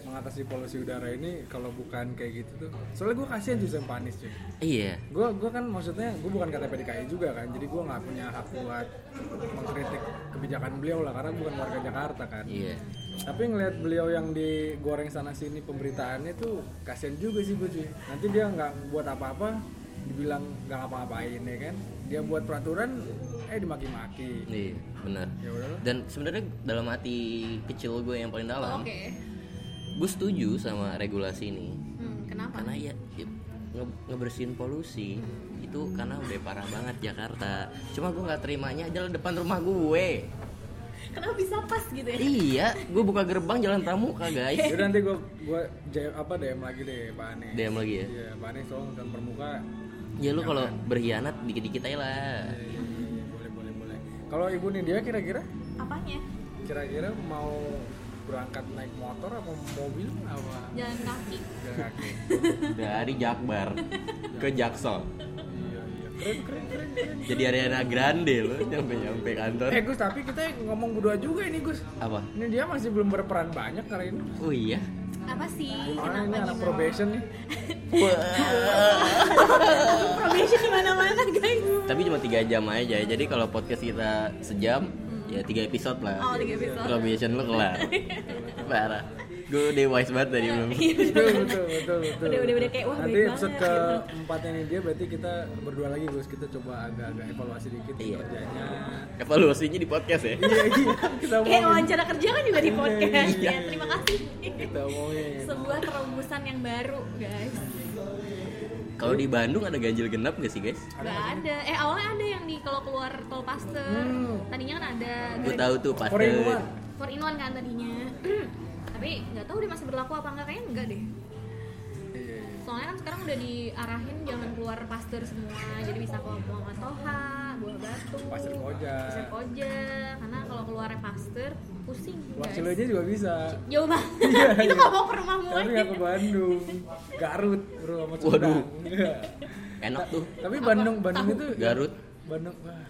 S1: mengatasi polusi udara ini kalau bukan kayak gitu tuh soalnya gue kasihan tuh sama Panis cuy
S2: Iya.
S1: gue gue kan maksudnya gue bukan KTP DKI juga kan jadi gue nggak punya hak buat mengkritik kebijakan beliau lah karena bukan warga Jakarta kan
S2: Iya.
S1: tapi ngelihat beliau yang digoreng sana sini pemberitaannya tuh kasihan juga sih gue cuy nanti dia nggak buat apa-apa dibilang nggak ngapa-ngapain ya kan dia buat peraturan eh dimaki-maki
S2: Iya, benar.
S1: ya udahlah
S2: Dan sebenarnya dalam hati kecil gue yang paling dalam,
S3: Oh, oke
S2: gue setuju sama regulasi ini.
S3: hmm, kenapa
S2: Karena ya, ya, nge- ngebersihin polusi itu karena udah parah banget Jakarta. Cuma gue nggak terimanya jalan depan rumah gue.
S3: kenapa bisa pas gitu ya
S2: iya, gue buka gerbang jalan pramuka guys.
S1: *laughs* Yaudah nanti gue gue apa DM lagi deh Pak Anies.
S2: DM lagi ya.
S1: Iya, Pak Anies tolong kan permuka.
S2: Ya lu kalau berkhianat dikit-dikit aja lah.
S1: Iya, iya, iya, boleh boleh boleh. Kalau Ibu Nidia kira-kira
S3: apanya
S1: kira-kira mau berangkat naik motor apa mobil apa
S3: jalan kaki
S1: jalan kaki?
S2: Dari Jakbar ke Jaksel.
S1: Iya iya. Keren keren keren. keren.
S2: Jadi Ariana Grande lu nyampe-nyampe kantor.
S1: Eh Gus, tapi kita ngomong berdua juga ini Gus.
S2: Apa?
S1: Ini dia masih belum berperan banyak kali ini.
S2: Oh iya.
S3: apa sih
S1: Karena ini anak
S3: kenapa gimana
S1: probation nih.
S2: *laughs*
S3: probation di mana mana guys
S2: Tapi cuma tiga jam aja. Jadi kalau podcast kita sejam, ya tiga episode lah.
S3: Oh, tiga episode.
S2: Probation lu *laughs* kelar. Parah. Gue udah wise banget tadi belum.
S1: betul betul betul betul.
S3: Udah, udah, udah, kayak, wah,
S1: Nanti
S3: baik
S1: episode
S3: banget,
S1: keempatnya ini dia berarti kita berdua lagi Gus. Kita coba agak-agak evaluasi dikit
S2: Iya.
S1: kerjanya.
S2: Evaluasinya di podcast ya.
S1: Iya iya. Kita
S3: kayak
S1: omongin.
S3: wawancara kerja kan juga di podcast ya terima kasih
S1: Kita omongin.
S3: sebuah terobosan yang baru guys
S2: Kalau di Bandung ada ganjil genap gak sih guys?
S3: Gak ada. Eh awalnya ada yang di kalau keluar tol Pasteur.
S1: Hmm.
S3: Tadinya kan ada
S2: Gue tahu tuh pas.
S1: Korea luar.
S3: for in one kan tadinya. *clears throat* Tapi nggak tahu dia masih berlaku apa enggak kayaknya enggak deh.
S1: Iya, iya.
S3: Soalnya kan sekarang udah diarahin jangan keluar Pasteur semua. Jadi bisa kalau buang Toha, buah batu,
S1: Pasteur koja.
S3: Pasteur koja. Karena kalau keluarnya Pasteur pusing.
S1: Luar
S3: guys.
S1: Cileunyi juga bisa.
S3: Jauh banget.
S1: *laughs* Iya,
S3: Itu
S1: iya.
S3: nggak mau ke gitu. rumahmu
S1: Tapi
S3: aja.
S1: nggak ke Bandung, Garut, bro sama Sumedang.
S2: Waduh.
S1: Iya.
S2: Enak tuh.
S1: Tapi Bandung, Bandung itu
S2: Garut.
S1: Bandung, wah,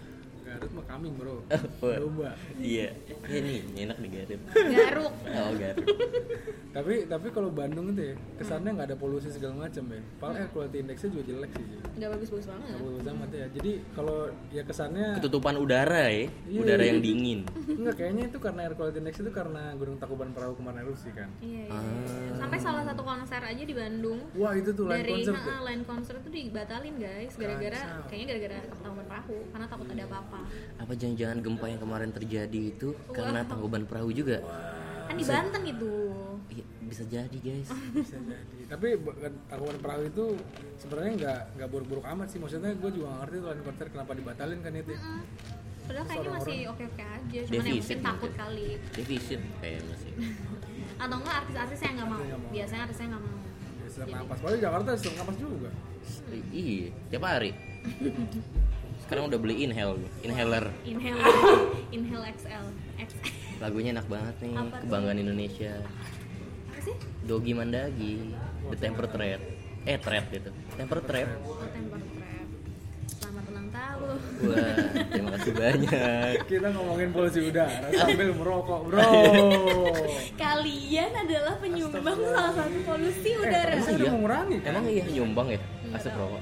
S1: Garut mah kambing bro.
S2: Wah.
S1: Domba.
S2: Iya. Ya nih, enak di Garut.
S3: Garuk.
S1: Iya.
S2: Oh, Garut.
S1: Tapi tapi kalau Bandung itu ya kesannya nggak ada polusi segala macam ya. Paling air quality indexnya juga jelek sih. Ji.
S3: Nggak bagus-bagus banget.
S1: Nggak bagus amat ya. Jadi kalau ya kesannya
S2: Ketutupan udara ya,
S1: Iya,
S2: udara
S1: iya.
S2: yang dingin.
S1: Enggak, kayaknya itu karena air quality index itu karena Gunung Tangkuban Perahu kemarin erupsi kan.
S3: Iya, iya. Sampai salah satu konser aja di Bandung
S1: Wah, itu tuh live
S3: dari
S1: concert.
S3: ha,
S1: tuh. Kan,
S3: line concert tuh dibatalin guys gara-gara kayaknya gara-gara ketahuan perahu karena takut ada apa-apa
S2: Apa jangan-jangan gempa yang kemarin terjadi itu karena tangkuban perahu juga?
S1: Ah,
S3: kan di Banten itu
S2: Iya, bisa jadi guys.
S1: Bisa jadi. Tapi ba- Tangkuban Perahu itu sebenarnya nggak nggak buruk-buruk amat sih. Maksudnya gue juga nggak ngerti tuh line concert kenapa dibatalin kan itu.
S3: Mm. padahal kayaknya masih oke-oke aja cuman ya
S2: Defisit
S3: mungkin
S2: mungkin.
S3: takut kali
S2: Defisit kayaknya sih.
S3: atau enggak artis-artis yang nggak mau
S1: nggak mau.
S3: biasanya artisnya nggak
S1: *laughs*
S3: mau
S1: Ya, selang napas. Padahal Jakarta selang napas juga.
S2: I- Iya, tiap hari. Sekarang udah beli inhale, inhaler.
S3: inhale inhale XL XL
S2: Lagunya enak banget nih,
S3: Apa tuh?
S2: kebanggaan Indonesia.
S3: apa sih
S2: Dogi Mandagi, The Temper Thread. Eh, thread gitu. Temper Thread.
S3: oh tembak trap selamat ulang tahun
S2: Wah, terima kasih banyak.
S1: Kita ngomongin polusi udara sambil merokok, bro.
S3: kalian adalah penyumbang salah satu polusi
S1: eh,
S3: udara
S1: bisa
S2: Iya.
S1: mengurangi kan?
S2: Emang iya nyumbang ya asap rokok?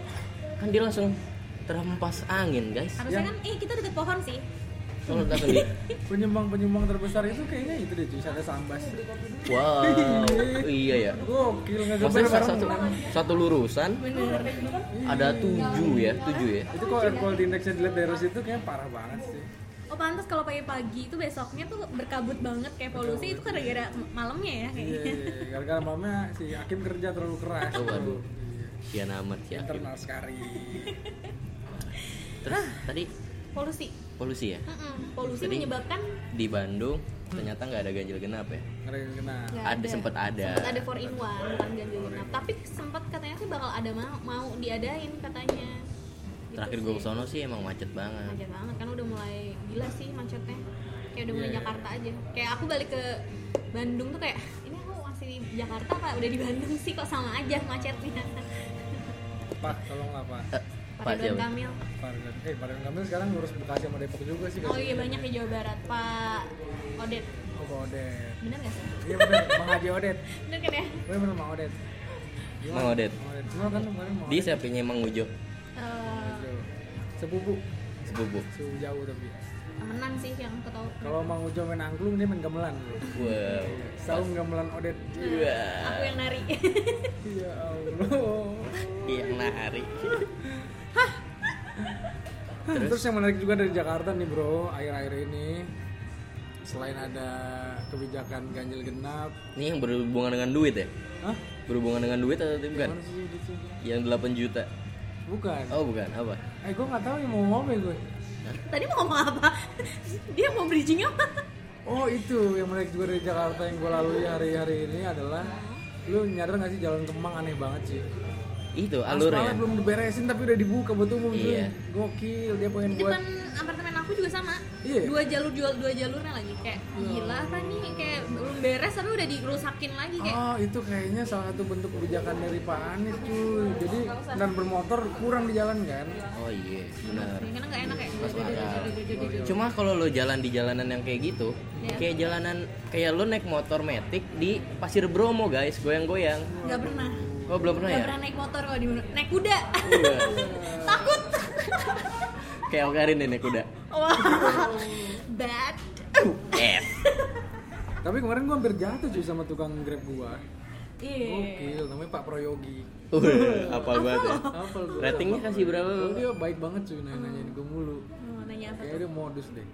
S2: Kan dia langsung terhempas angin guys.
S3: harusnya kan eh kita deket pohon sih
S2: Lo letak di
S1: Penyumbang-penyumbang terbesar itu kayaknya itu deh cuy, ada sambas. *laughs*
S2: Wow, iya ya.
S1: Gokil ngegeber
S2: Maksudnya satu,
S1: bareng.
S2: satu, satu lurusan
S3: bener
S2: ada tujuh ya, tujuh ya.
S1: Itu kok air quality indexnya jelek dari situ kayaknya parah banget sih.
S3: oh pantas kalau pagi-pagi itu besoknya tuh berkabut banget kayak polusi itu kan gara-gara malamnya ya
S1: Iya,
S3: kayaknya
S1: iya, iya. gara-gara mamanya si Hakim kerja terlalu keras.
S2: Oh, waduh.
S1: Iya.
S2: Kian amat ya.
S1: Internal sekali.
S2: Terus tadi
S3: polusi
S2: polusi ya
S3: Mm-mm, polusi
S2: Jadi-
S3: menyebabkan
S2: di Bandung ternyata nggak ada ganjil genap ya.
S1: Ada yang kena.
S3: nggak
S2: Ada sempat ada.
S3: Sempet ada four in one bukan ganjil genap tapi sempat katanya sih bakal ada mau, mau diadain katanya Gitu
S2: Terakhir gue
S3: sih.
S2: kesana sih emang macet banget.
S3: macet banget kan udah mulai gila sih macetnya kayak udah mulai
S1: Iya.
S3: Jakarta aja kayak aku balik ke Bandung tuh kayak ini aku masih di Jakarta apa udah di Bandung sih kok sama aja macetnya
S1: Pak, tolonglah Pak.
S2: Eh,
S3: pakai
S2: Pak
S3: Don
S2: jauh.
S3: Kamil
S1: Pardon. Eh, Pardon Kamil sekarang ngurus Bekasi sama Depok juga sih.
S3: oh iya banyak di Jawa Barat Pak Odet
S1: Oh, Pak Odet.
S3: bener gak sih
S1: Iya benar, Mang Haji Odet.
S3: bener kan ya
S1: Gue benar Mang Odet. Gimana?
S2: Mang Odet.
S1: Mang Odet. Cuma kan kemarin Mang
S2: Di
S1: Odet.
S2: sampingnya Mang Ujo
S3: Eh,
S1: Jauh. Sepupu,
S2: sepupu.
S1: sepupu jauh tapi.
S3: temenan sih yang aku tahu Nah,
S1: Kalau Mang Ujo main angklung dia main gamelan.
S2: Wow.
S1: Selalu gamelan Odet.
S3: aku yang nari *laughs*
S1: Ya Allah.
S2: Yang nari.
S1: Terus? yang menarik juga dari Jakarta nih bro, akhir-akhir ini selain ada kebijakan ganjil genap,
S2: Ini yang berhubungan dengan duit ya?
S1: hah?
S2: Berhubungan dengan duit atau bukan?
S1: Mana sih itu?
S2: Yang 8 juta.
S1: Bukan.
S2: Oh, bukan. Apa?
S1: Eh gue nggak tahu yang mau ngomong apa ya gue.
S3: tadi mau ngomong apa *laughs* dia mau bridging apa
S1: Oh itu yang menarik juga dari Jakarta yang gue lalui hari-hari ini adalah lu nyadar gak sih jalan Kemang aneh banget sih.
S2: Itu
S1: Aspalnya
S2: alurnya.
S1: belum diberesin tapi udah dibuka buat umum cuy.
S2: ya? Iya.
S1: Gokil dia pengen
S3: di
S1: buat.
S3: depan apartemen aku juga sama
S1: Iya.
S3: dua jalur jual dua jalurnya lagi kayak gila apa nih kayak belum beres tapi udah dirusakin lagi kayak
S1: Oh itu kayaknya salah satu bentuk kebijakan dari Pak Anies cuy. Jadi dan bermotor kurang di jalan kan.
S2: Oh iya, benar.
S3: ya, karena nggak enak kayak
S2: Masuk akal.
S3: dududududududududu.
S2: Cuma kalau lo jalan di jalanan yang kayak gitu,
S3: Iya.
S2: kayak jalanan kayak lo naik motor metik di Pasir Bromo, guys, goyang-goyang.
S3: nggak pernah
S2: Oh, belum pernah
S3: nggak
S2: ya?
S3: pernah naik motor kalau di mana- naik kuda
S2: Wah,
S3: *laughs* takut
S2: kayak Okarin ini kuda.
S3: wah bad
S2: Eh,
S1: Tapi kemarin gue hampir jatuh cuy sama tukang grab gua.
S3: iya
S1: Gokil namanya Pak Proyogi.
S2: Wah, apa banget ya?
S1: Apa lu?
S2: Ratingnya kasih berapa?
S1: Oh,
S2: Bang?
S1: Dia baik banget cuy nanya-nanyain gue mulu.
S3: mau nanya apa
S1: Kayaknya dia modus deh.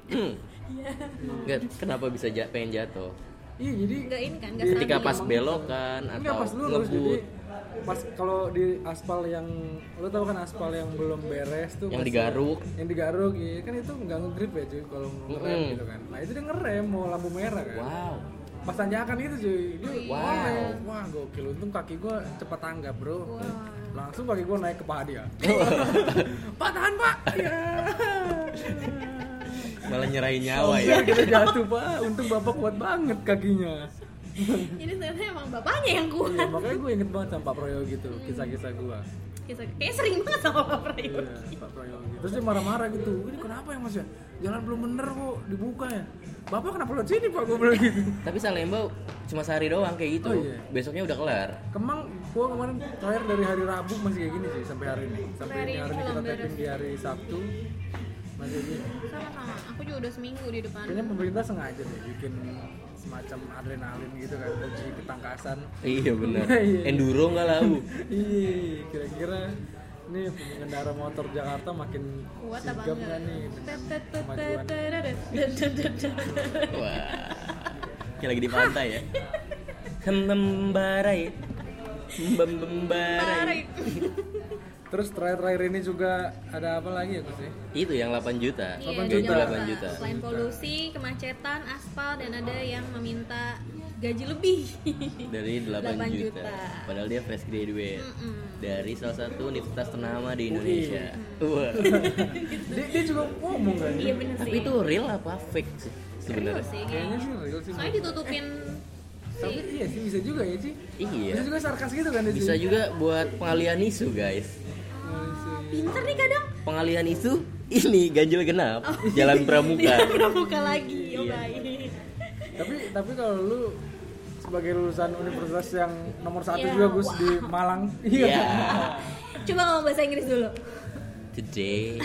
S2: Enggak, kenapa bisa ja- pengen jatuh?
S1: Iya jadi
S3: nggak ini kan nggak
S2: *laughs* Ketika
S3: stabil.
S2: pas belokan
S1: gitu. Enggak
S2: atau
S1: pas lu lurus jadi
S2: ngebut
S1: pas kalau di aspal yang lu tahu kan aspal yang belum beres tuh
S2: yang
S1: masih-
S2: digaruk.
S1: yang digaruk ya kan itu nggak ngegrip ya cuy kalau mau ngerem
S2: Mm-mm.
S1: gitu kan nah itu dia ngerem mau lampu merah kan
S2: Wow.
S1: pas tanjakan itu cuy dia
S2: Wow.
S1: oleng. wah gokil untung kaki gua cepat tanggap bro langsung kaki gua naik ke paha *laughs* dia pak tahan pak ya
S2: *laughs* Malah nyerahin
S1: Oh,
S2: nyawa
S1: kita
S2: ya.
S1: gitu jatuh pak untung bapak kuat banget kakinya
S3: jadi sebenarnya emang bapaknya yang
S1: Iya,
S3: kuat
S1: makanya gue inget banget sama Pak Proyo gitu kisah-kisah gua
S3: Kisah- kayak sering banget sama bapak itu
S1: Iya, Pak Proyo gitu. Terus dia marah-marah gitu. Ini kenapa ya Mas ya? Jalan belum bener kok dibuka ya. Bapak kenapa lewat sini Pak? Gue bilang gitu.
S2: *laughs* Tapi Salemba cuma sehari doang kayak gitu.
S1: Oh, iya.
S2: Besoknya udah
S1: *laughs*
S2: kelar.
S1: Kemang, gua kemarin terakhir dari hari Rabu masih kayak gini sih sampai hari ini. Sampai
S3: Hari
S1: hari,
S3: ini
S1: hari ini kita
S3: belum
S1: tapin di hari Sabtu masih gini.
S3: sama-sama aku juga udah seminggu di depan
S1: Kayaknya pemerintah sengaja deh bikin semacam adrenalin gitu kan uji ketangkasan.
S2: Iya benar.
S1: Iya.
S2: Enduro nggak
S1: *laughs*
S2: lau.
S1: Iya, kira-kira nih pengendara motor Jakarta makin
S3: kuat apa
S1: sigap nggak
S3: enggak
S1: nih dengan kemajuan
S2: Wah. Kayak lagi di pantai ya. *laughs* Hembembarai. Hembembarai.
S3: Tarik.
S1: Terus terakhir-terakhir ini juga ada apa lagi
S3: *laughs*
S1: ya
S3: Gitu
S1: Kus ya?
S2: Itu yang 8 juta.
S3: Iya,
S2: Gaji 8
S3: jadi apa?
S2: juta.
S3: Selain polusi, kemacetan, aspal, dan ada yang meminta gaji lebih.
S2: Dari 8, juta.
S3: 8 juta.
S2: Padahal dia fresh graduate.
S3: Mm-mm.
S2: Dari salah satu universitas
S1: Oh,
S2: ternama
S1: iya.
S2: di Indonesia. Wah.
S1: *laughs* Dia, dia juga ngomong kan?
S3: Iya bener
S2: Tapi
S3: sih.
S2: itu real apa fake sih
S3: Bener
S2: sebenarnya?
S3: sih
S1: Kayaknya
S3: kayaknya.
S1: sih real sih.
S3: Soalnya ditutupin
S1: Tapi
S3: sih.
S1: iya sih bisa juga ya sih. Bisa
S2: Iya.
S1: juga sarkas gitu kan dia
S2: Bisa juga buat pengalian isu, guys.
S3: Ah, Pinter nih kadang.
S2: Pengalian isu *laughs* ini ganjil genap,
S3: Oh.
S2: jalan pramuka.
S3: *laughs* Pramuka lagi, oh baik.
S1: Tapi tapi kalau lu sebagai lulusan universitas yang nomor satu
S3: Iya,
S1: juga Gus di
S3: *laughs*
S1: Malang. Iya.
S2: Yeah.
S3: Coba ngomong bahasa Inggris dulu.
S2: Today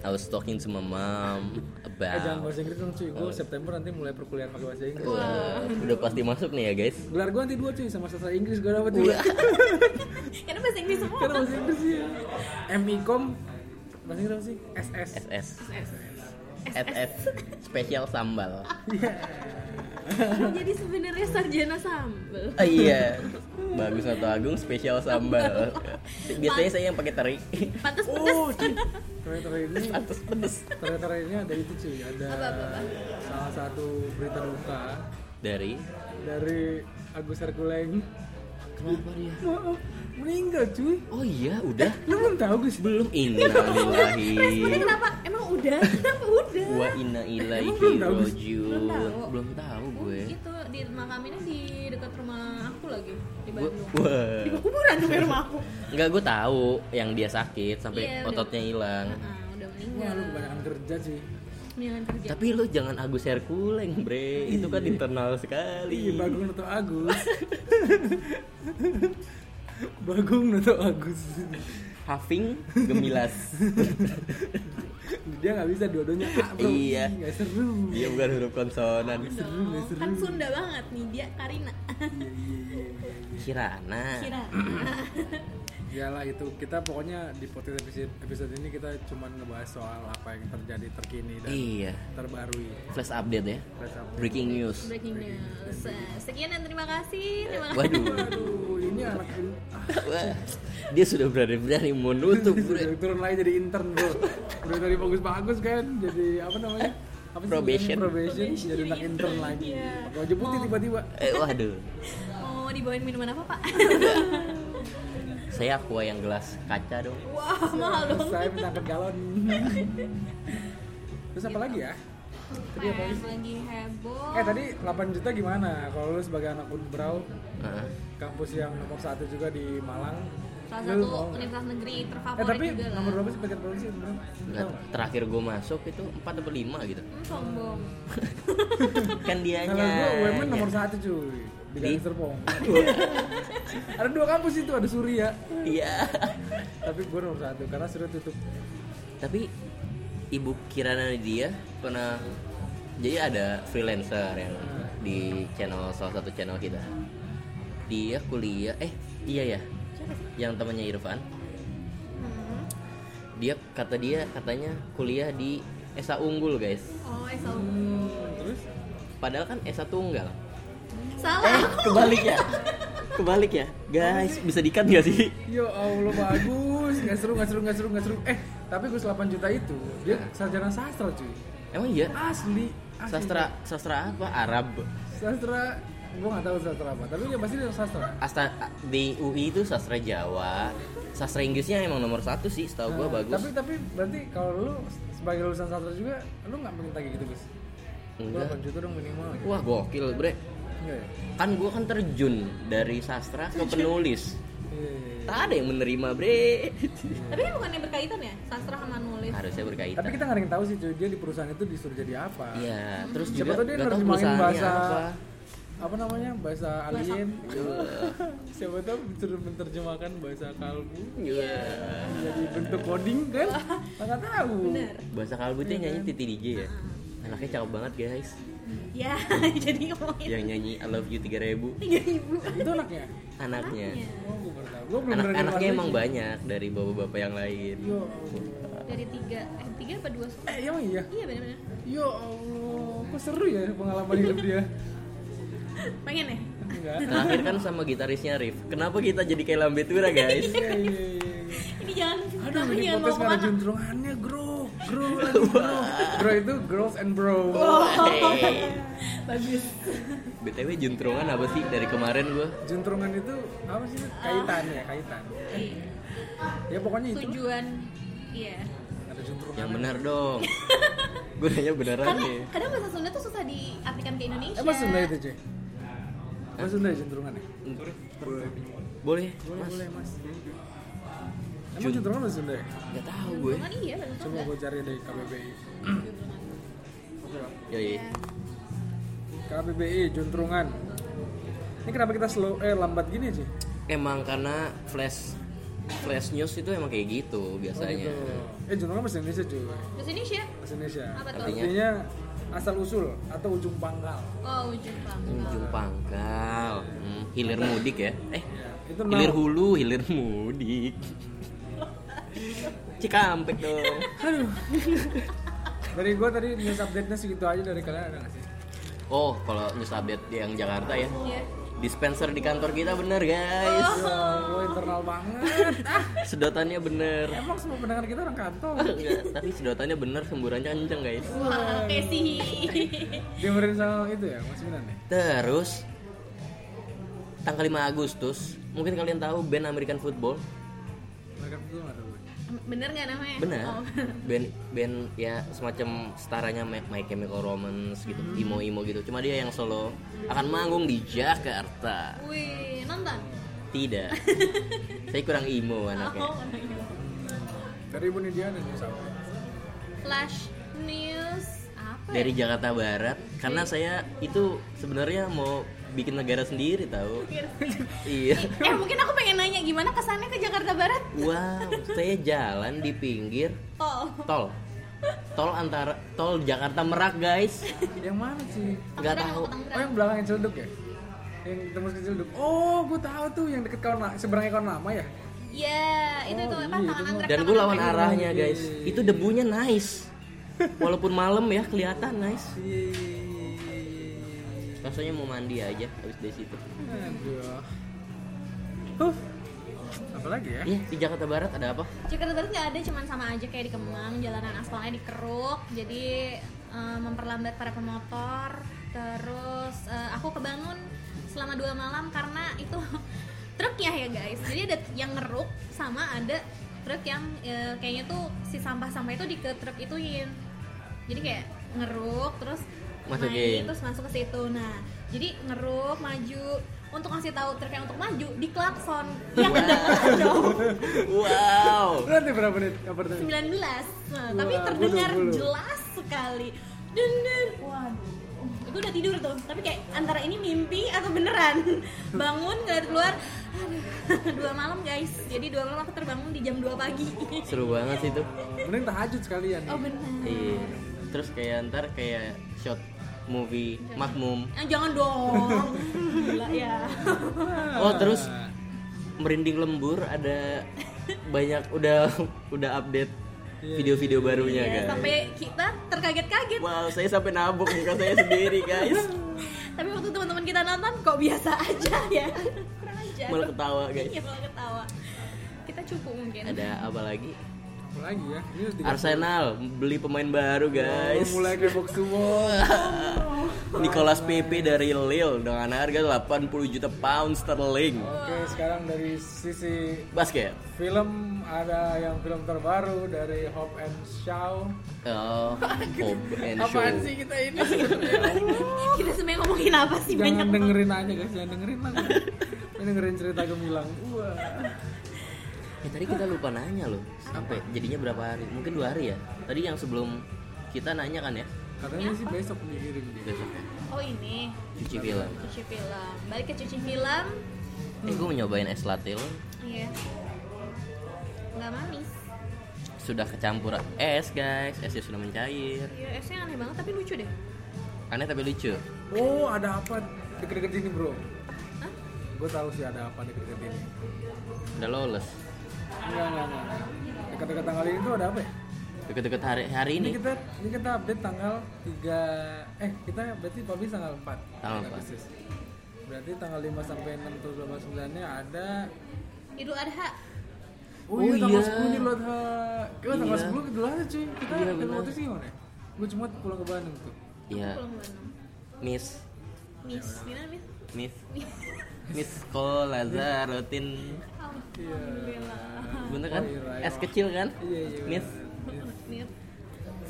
S2: I was talking to my mom
S1: Eh, jangan
S2: about
S1: bahasa Inggris dong cuy. Gue September nanti mulai perkuliahan pakai bahasa Inggris.
S2: Wah, udah pasti masuk nih ya guys.
S1: Gelar gue nanti dua cuy sama sastra Inggris gue dapat juga.
S3: Karena bahasa Inggris semua.
S1: *laughs* Karena iya. bahasa Inggris ya. MIKOM bahasa Inggris apa sih? SS.
S2: SS. SS spesial
S3: *laughs*
S2: sambal
S3: jadi sebenarnya sarjana sambel
S2: Ah, iya bagus atau agung spesial
S3: *laughs*
S2: sambal biasanya saya yang pakai teri
S3: pantas pedes
S1: Oh, cuy. Ternyata ini
S2: pantes pedes
S1: ternyata ini ada itu cuy, ada
S3: Apa, apa, apa?
S1: salah satu berita duka
S2: dari
S1: dari Agus Herkuleng.
S2: kenapa dia
S1: Maaf, meninggal cuy.
S2: oh iya udah
S1: Lu belum tahu Gus?
S2: belum innalillahi
S3: responnya kenapa emang udah kenapa udah
S2: wa inna ilaihi
S1: Emang belum tahu, Gus?
S2: rojiun
S3: Belum tahu.
S2: belum tahu
S3: Oh,
S2: gue
S3: itu di makaminnya di dekat rumah aku lagi di
S2: Gue-
S3: Bandung
S2: wah
S3: di kuburan tuh rumah aku
S2: Enggak gue tahu yang dia sakit sampai
S3: Iya, udah.
S2: ototnya hilang.
S3: Ah,
S1: Wah,
S3: udah meninggal
S1: lu kebanyakan kerja cuy.
S3: mendingan kerja
S2: Tapi lu jangan Agus Herkuleng, Bre. Itu kan internal
S1: Iya,
S2: sekali.
S1: Bagung atau Agus. *laughs* Bagung atau Agus.
S2: Having gemilas.
S1: Dia nggak bisa dua-duanya A, bro.
S2: Iya.
S1: Nggak seru.
S2: dia bukan huruf konsonan.
S1: Seru,
S3: Dong,
S1: seru.
S3: kan Sunda banget nih dia Karina
S1: Iya, iya, iya, iya.
S2: Kirana.
S1: *laughs*
S3: Kira
S1: Iyalah itu kita pokoknya di podcast episode, episode ini kita cuman ngebahas soal apa yang terjadi terkini dan
S2: Iya.
S1: terbarui.
S2: Flash update ya.
S1: Press up.
S2: Breaking news.
S3: breaking news sekian dan terima kasih terima kasih
S2: Waduh.
S1: Aduh, ini anak ini ah,
S2: Wah, dia sudah berani-berani mau
S1: *laughs*
S2: nutup, Bre.
S1: sudah turun lagi jadi intern bro. Udah dari bagus-bagus kan, jadi apa namanya? Apa sih
S2: Probation.
S1: namanya? Probation, jadi anak intern lagi.
S3: Iya.
S1: Pakai baju putih tiba-tiba.
S2: Eh, waduh.
S3: mau dibawain minuman apa
S1: *laughs*
S3: pak
S2: Saya aqua yang gelas kaca dong.
S3: wah mahal dong
S1: Saya minta angkat
S3: *laughs*
S1: galon. Terus apa lagi ya? Tadi apa
S3: Fan
S1: lagi?
S3: lagi heboh
S1: Eh tadi 8 juta gimana? Kalau lu sebagai anak Unbrau,
S2: Heeh.
S1: kampus yang nomor satu juga di Malang.
S3: salah
S1: lu mau
S3: satu
S1: nggak?
S3: universitas negeri
S1: Eh
S3: terfavorit
S1: tapi
S3: juga lah Iya,
S1: nomor berapa sih paket produksi? Bro? Lu
S2: Nggak,
S1: tau nggak?
S2: Terakhir gue masuk itu 4 atau 5 gitu
S3: Hmm, sombong
S2: Kan dianya
S1: Kalau gue UMN kan nomor satu cuy di
S2: Di?
S1: Gading Serpong. ada dua kampus itu ada Surya,
S2: Iya
S1: tapi gue nomor satu karena Surya tutup.
S2: tapi ibu Kirana dia pernah jadi ada freelancer yang di channel salah satu channel kita dia kuliah eh iya ya yang temannya Irfan
S3: Hmm.
S2: dia kata dia katanya kuliah di Esa Unggul guys
S3: oh eh sombong
S1: Terus
S2: padahal kan Esa Tunggal
S3: salah
S2: eh kebalik ya kebalik ya guys bisa dikat nggak sih
S1: Ya Allah bagus, nggak seru nggak seru nggak seru nggak seru. Eh tapi gue 8 juta itu dia sarjana sastra cuy,
S2: emang iya
S1: asli. asli.
S2: sastra sastra apa Arab
S1: Sastra gue nggak tahu sastra apa, tapi dia pasti dia sastra.
S2: Asta di UI itu sastra Jawa sastra Inggrisnya emang nomor satu sih setahu
S1: Nah,
S2: gua Oh, bagus
S1: Tapi tapi berarti kalau lu sebagai lulusan sastra juga lu nggak minta kayak gitu guys? Gue
S2: Enggak. Oh.
S1: 8 juta dong minimal. gitu.
S2: Wah gokil bre
S1: Enggak ya?
S2: Kan gue kan terjun dari sastra ke penulis
S1: Iya, iya, iya.
S2: Tak ada yang menerima
S1: *laughs*
S2: bre
S3: tapi ini bukannya berkaitan ya sastra sama nulis
S2: Harusnya
S1: Tapi
S2: berkaitan
S1: kita nggak ada yang tahu sih cuy dia di perusahaan itu disuruh jadi apa.
S2: Iya terus
S1: Siapa
S2: juga
S1: tahu dia
S2: nggak tahu
S1: nerjemahin
S2: perusahaannya
S1: bahasa apa?
S2: apa
S1: namanya bahasa alien. Siapa tahu disuruh menerjemahkan bahasa kalbu
S2: Iya
S1: jadi bentuk coding kan?
S2: *laughs*
S1: Nggak tahu.
S3: bener
S2: Bahasa kalbu itu yang
S1: Iya.
S2: nyanyi Titi DJ ya Anaknya cakep banget guys
S3: ya *laughs* jadi ngomongin
S2: Yang nyanyi I love you 3000
S3: tiga ribu
S1: Itu anaknya.
S2: Anaknya
S1: Oh, gue baru tahu. Gue belum
S2: Anak
S1: pernah
S2: Anaknya
S1: dengar
S2: emang
S1: lagi.
S2: banyak dari bapak-bapak yang lain
S1: Ya Allah.
S3: dari tiga eh tiga apa dua
S1: Eh, emang iya.
S3: iya bener-bener
S1: Ya Allah, kok seru ya pengalaman hidup dia.
S3: pengen ya
S1: Enggak.
S2: *laughs* Terakhir kan sama gitarisnya Rif Kenapa kita jadi kayak lambe tura guys
S1: Iya, iya, iya.
S3: ini jangan
S1: Aduh,
S3: kamu
S1: ini podcast gak
S3: jangan mau
S1: ada
S3: kemana
S1: juntrungannya, bro
S2: *laughs*
S1: Bro, lagi bro Bro itu girls and bro
S2: Oh. Hey.
S3: bagus
S2: BTW juntrungan apa sih dari kemarin gua
S1: Juntrungan itu, apa sih? Kaitan ya, kaitan Ya pokoknya itu lah.
S3: Iya, tujuan iya
S1: Ada juntrungan
S2: Yang benar dong. gue nanya beneran
S3: karena
S2: nih.
S3: kadang bahasa Sunda tuh susah diartikan ke Indonesia
S1: Eh, mas Sunda itu, Cuy? Mas Sunda ya juntrungannya? Boleh,
S2: Boleh,
S1: boleh,
S2: Mas.
S1: boleh, mas Emang
S2: Jun-
S1: juntrungan mas Sunda ya?
S2: Gak tahu gue.
S3: Juntrungan iya bahasa
S1: Coba
S3: Sunda
S1: gue cari dari KBBI Oke lah.
S2: Yoi.
S3: Iya.
S1: KBBI, juntrungan Ini kenapa kita slow, eh lambat gini, Cuy?
S2: Emang karena flash flash news itu emang kayak gitu
S1: Oh, gitu
S2: biasanya.
S1: Eh, juntrungan mas Indonesia, Cuy
S3: Terus Indonesia
S1: Mas Indonesia
S3: ya. apa tuh
S2: Artinya?
S1: Artinya asal usul atau ujung pangkal.
S3: oh ujung pangkal
S2: Ujung pangkal. Hmm, hilir mudik ya. Eh,
S1: Ya, itu nama.
S2: hilir hulu, hilir mudik. Cikampek dong.
S1: Aduh. dari gue tadi news update-nya segitu aja dari kalian ada nggak sih?
S2: Oh, kalau news update yang Jakarta ya.
S3: Iya. Oh.
S2: Dispenser di kantor kita bener guys.
S1: Ya, gue internal banget. *laughs*
S2: Sedotannya bener.
S1: Emang semua pendengar kita orang kantor.
S2: Enggak, tapi sedotannya bener, semburannya kenceng guys.
S3: Wah, oke sih. *laughs*
S1: Dengerin sama itu ya, Mas Minan ya?
S2: Terus tanggal 5 Agustus, mungkin kalian tahu band American Football.
S1: Mereka berdua nggak tahu gue.
S3: Bener nggak namanya?
S2: Bener.
S3: Oh. *laughs*
S2: Band band ya semacam staranya My My Chemical Romance gitu,
S3: Hmm.
S2: emo-emo gitu. Cuma dia yang solo akan manggung di Jakarta.
S3: Wih, nonton.
S2: Tidak. Saya kurang emo anaknya.
S3: Oh,
S1: Dari Ibu Nidia ada news apa?
S3: Flash news apa?
S2: Dari Jakarta Barat karena saya itu sebenarnya mau bikin negara sendiri tahu. *laughs*
S3: ya?
S2: iya.
S3: Eh, mungkin aku pengen nanya gimana kesannya ke Jakarta Barat?
S2: Wow, saya jalan di pinggir
S3: Tol.
S2: tol. Tol antara tol Jakarta Merak, guys.
S1: *laughs* Yang mana sih?
S2: Nggak
S3: Tangerang,
S2: tahu.
S3: aku Tangerang.
S1: Oh yang belakangnya Ciledug ya? Yang tembus ke Ciledug. Oh, gue tahu tuh yang deket kawan la- seberangnya kawan lama ya.
S3: Iya, itu
S1: Oh,
S3: tuh apa?
S1: iya,
S3: Tangan
S1: itu
S3: anggrek.
S2: Dan gue
S3: tangan
S2: lawan
S3: anggrek.
S2: arahnya, guys. Itu debunya nice. Walaupun malam ya kelihatan nice. Rasanya mau mandi aja habis dari situ.
S1: Aduh. Huh. Apa lagi ya?
S2: Iya, di Jakarta Barat ada apa?
S3: Jakarta Barat nggak ada, cuman sama aja kayak di Kemang, jalanan aspalnya dikeruk, jadi eh, memperlambat para pemotor. Terus eh, aku kebangun selama dua malam karena itu *laughs* truknya ya guys. Jadi ada yang ngeruk sama ada truk yang eh, kayaknya tuh si sampah-sampah itu di ke truk ituin. Jadi kayak ngeruk terus
S2: Masukin.
S3: main gitu, terus masuk ke situ. Nah, jadi ngeruk maju untuk ngasih tahu truk yang untuk maju Iya, di klakson yang kedengeran dong.
S2: Wow.
S1: Berarti ya, berapa menit? Apa tadi?
S3: 19 nah, tapi
S1: Wah,
S3: terdengar
S1: bulu-bulu.
S3: jelas sekali dun dun waduh gue udah tidur tuh tapi kayak antara ini mimpi atau
S1: *laughs*
S3: beneran bangun ngeliat keluar aduh, dua malam guys jadi dua malam aku terbangun di jam 2 pagi
S2: Seru banget sih itu.
S1: Mending tahajud sekalian. ya.
S3: oh bener
S2: Iya. Terus kayak ntar kayak shot movie Makmum.
S3: Ah, jangan dong gila ya
S2: Oh, terus merinding lembur ada banyak udah udah update video-video barunya
S3: Iya,
S2: guys.
S3: sampai kita terkaget-kaget
S2: Wow, saya sampai nabok muka saya sendiri guys.
S3: tapi waktu teman-teman kita nonton kok biasa aja ya kurang aja
S2: Malah ketawa guys.
S3: Iya, malah ketawa kita cukup mungkin
S2: Ada apa lagi?
S1: Apa lagi ya? Ini udah tiga-
S2: Arsenal beli pemain baru guys.
S1: Oh, mulai ke box semua. *laughs* Oh.
S2: Nicolas Pepe dari Lille dengan harga 80 juta pound sterling.
S1: Oke, sekarang dari sisi
S2: Basket.
S1: film ada yang film terbaru dari Hope and Shaw.
S2: Oh, Hope and Show.
S1: Apaan sih kita ini?
S3: kita sebenarnya ngomongin apa sih
S1: jangan
S3: banyak
S1: dengerin aja guys, jangan dengerin lah. Ini dengerin cerita gemilang. Wah.
S2: Ya, tadi kita lupa nanya loh. Sampai jadinya berapa hari? Mungkin dua hari ya. Tadi yang sebelum kita nanya kan ya.
S1: Katanya sih besok dikirim dia.
S2: Besok ya.
S3: oh ini
S2: Cuci film.
S3: cuci film balik ke cuci film
S2: Eh, gue mau nyobain es latte lo.
S3: iya nggak manis
S2: Sudah kecampur es guys. Esnya sudah mencair.
S3: iya esnya aneh banget tapi lucu deh
S2: Aneh tapi lucu.
S1: Oh, ada apa deket-deket sini, Bro?
S3: Hah?
S1: Gue tahu sih ada apa deket-deket ini.
S2: Udah lolos.
S1: Enggak, enggak, enggak. Dekat-dekat tanggal ini tuh ada apa ya?
S2: Deket-deket hari, hari
S1: Ini
S2: ini.
S1: kita ini kita update tanggal 3 eh kita berarti publish tanggal 4.
S2: Tanggal empat.
S1: Agustus. Berarti tanggal 5 sampai 6 tuh 29-nya ada
S3: Idul Adha
S1: Oh,
S2: Oh
S1: iya, tanggal
S2: iya.
S1: 10 nih loh Kita tanggal
S2: Iya.
S1: 10 ke dulu aja cuy. Kita
S2: Iya,
S1: iya,
S2: benar.
S1: waktu sih gimana? Gue cuma pulang ke Bandung tuh.
S2: Ya.
S3: pulang ke Bandung
S2: Miss
S3: miss
S2: Iya.
S3: gimana miss
S2: Miss Miss Kolaza rutin
S3: alhamdulillah
S2: Bener kan?
S1: Oh, iya, iya.
S2: Es kecil kan?
S1: Iya, iya.
S2: Miss
S1: benar.
S3: miss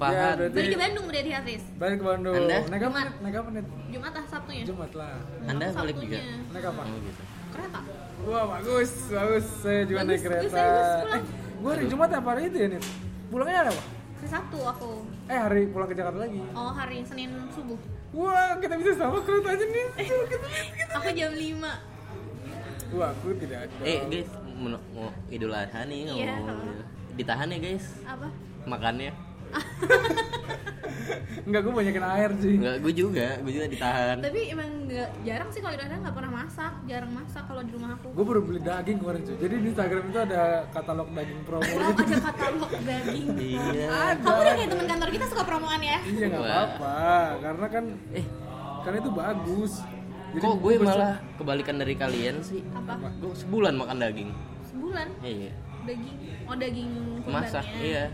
S2: Fahad
S1: berarti-
S3: balik ke Bandung berarti Hafiz
S1: Balik ke Bandung.
S2: Anda?
S1: Naik apa? Nit? Naik apa nih?
S3: Jumat ah Sabtunya
S1: Jumat lah.
S2: Anda
S3: Aku
S2: balik juga?
S3: Sabtunya.
S1: Naik apa?
S2: Oh gitu
S3: kereta
S1: Wah, bagus. Bagus. Saya juga naik
S3: Bagus, bagus,
S1: kereta.
S3: bagus, pulang.
S1: gue hari Jumat apa hari itu ya, Nit? Pulangnya ada apa?
S3: hari Sabtu aku
S1: Eh, hari pulang ke Jakarta lagi.
S3: oh hari Senin subuh
S2: *laughs*
S1: Wah, kita bisa sama kereta aja nih.
S2: Iya, gitu,
S3: aku jam 5
S1: Wah, aku tidak ada.
S2: Eh guys, mau- mau idul adha nih
S3: Iya,
S2: ngomong
S3: sama.
S2: Ditahan ya guys,
S3: apa
S2: makannya
S1: Enggak, gue banyakin air sih.
S2: Enggak, gue juga, gue juga ditahan.
S3: Tapi emang nggak jarang sih kalau di Indonesia nggak pernah masak, jarang masak kalau di rumah aku.
S1: Gue baru beli daging kemarin cuy. Jadi di Instagram itu ada katalog daging
S2: *laughs*
S1: promo
S3: Oh,
S1: gitu.
S3: ada katalog daging.
S2: Iya.
S3: Kamu udah kayak teman kantor kita suka promoan ya?
S1: Iya nggak
S2: Wah.
S1: apa-apa, karena kan
S2: Eh,
S1: karena itu bagus.
S2: kok gue
S1: besok-
S2: malah kebalikan dari kalian sih?
S3: Apa?
S2: Gue sebulan makan daging.
S3: Sebulan
S2: Iya.
S3: daging oh daging kurbannya.
S2: Masak, iya.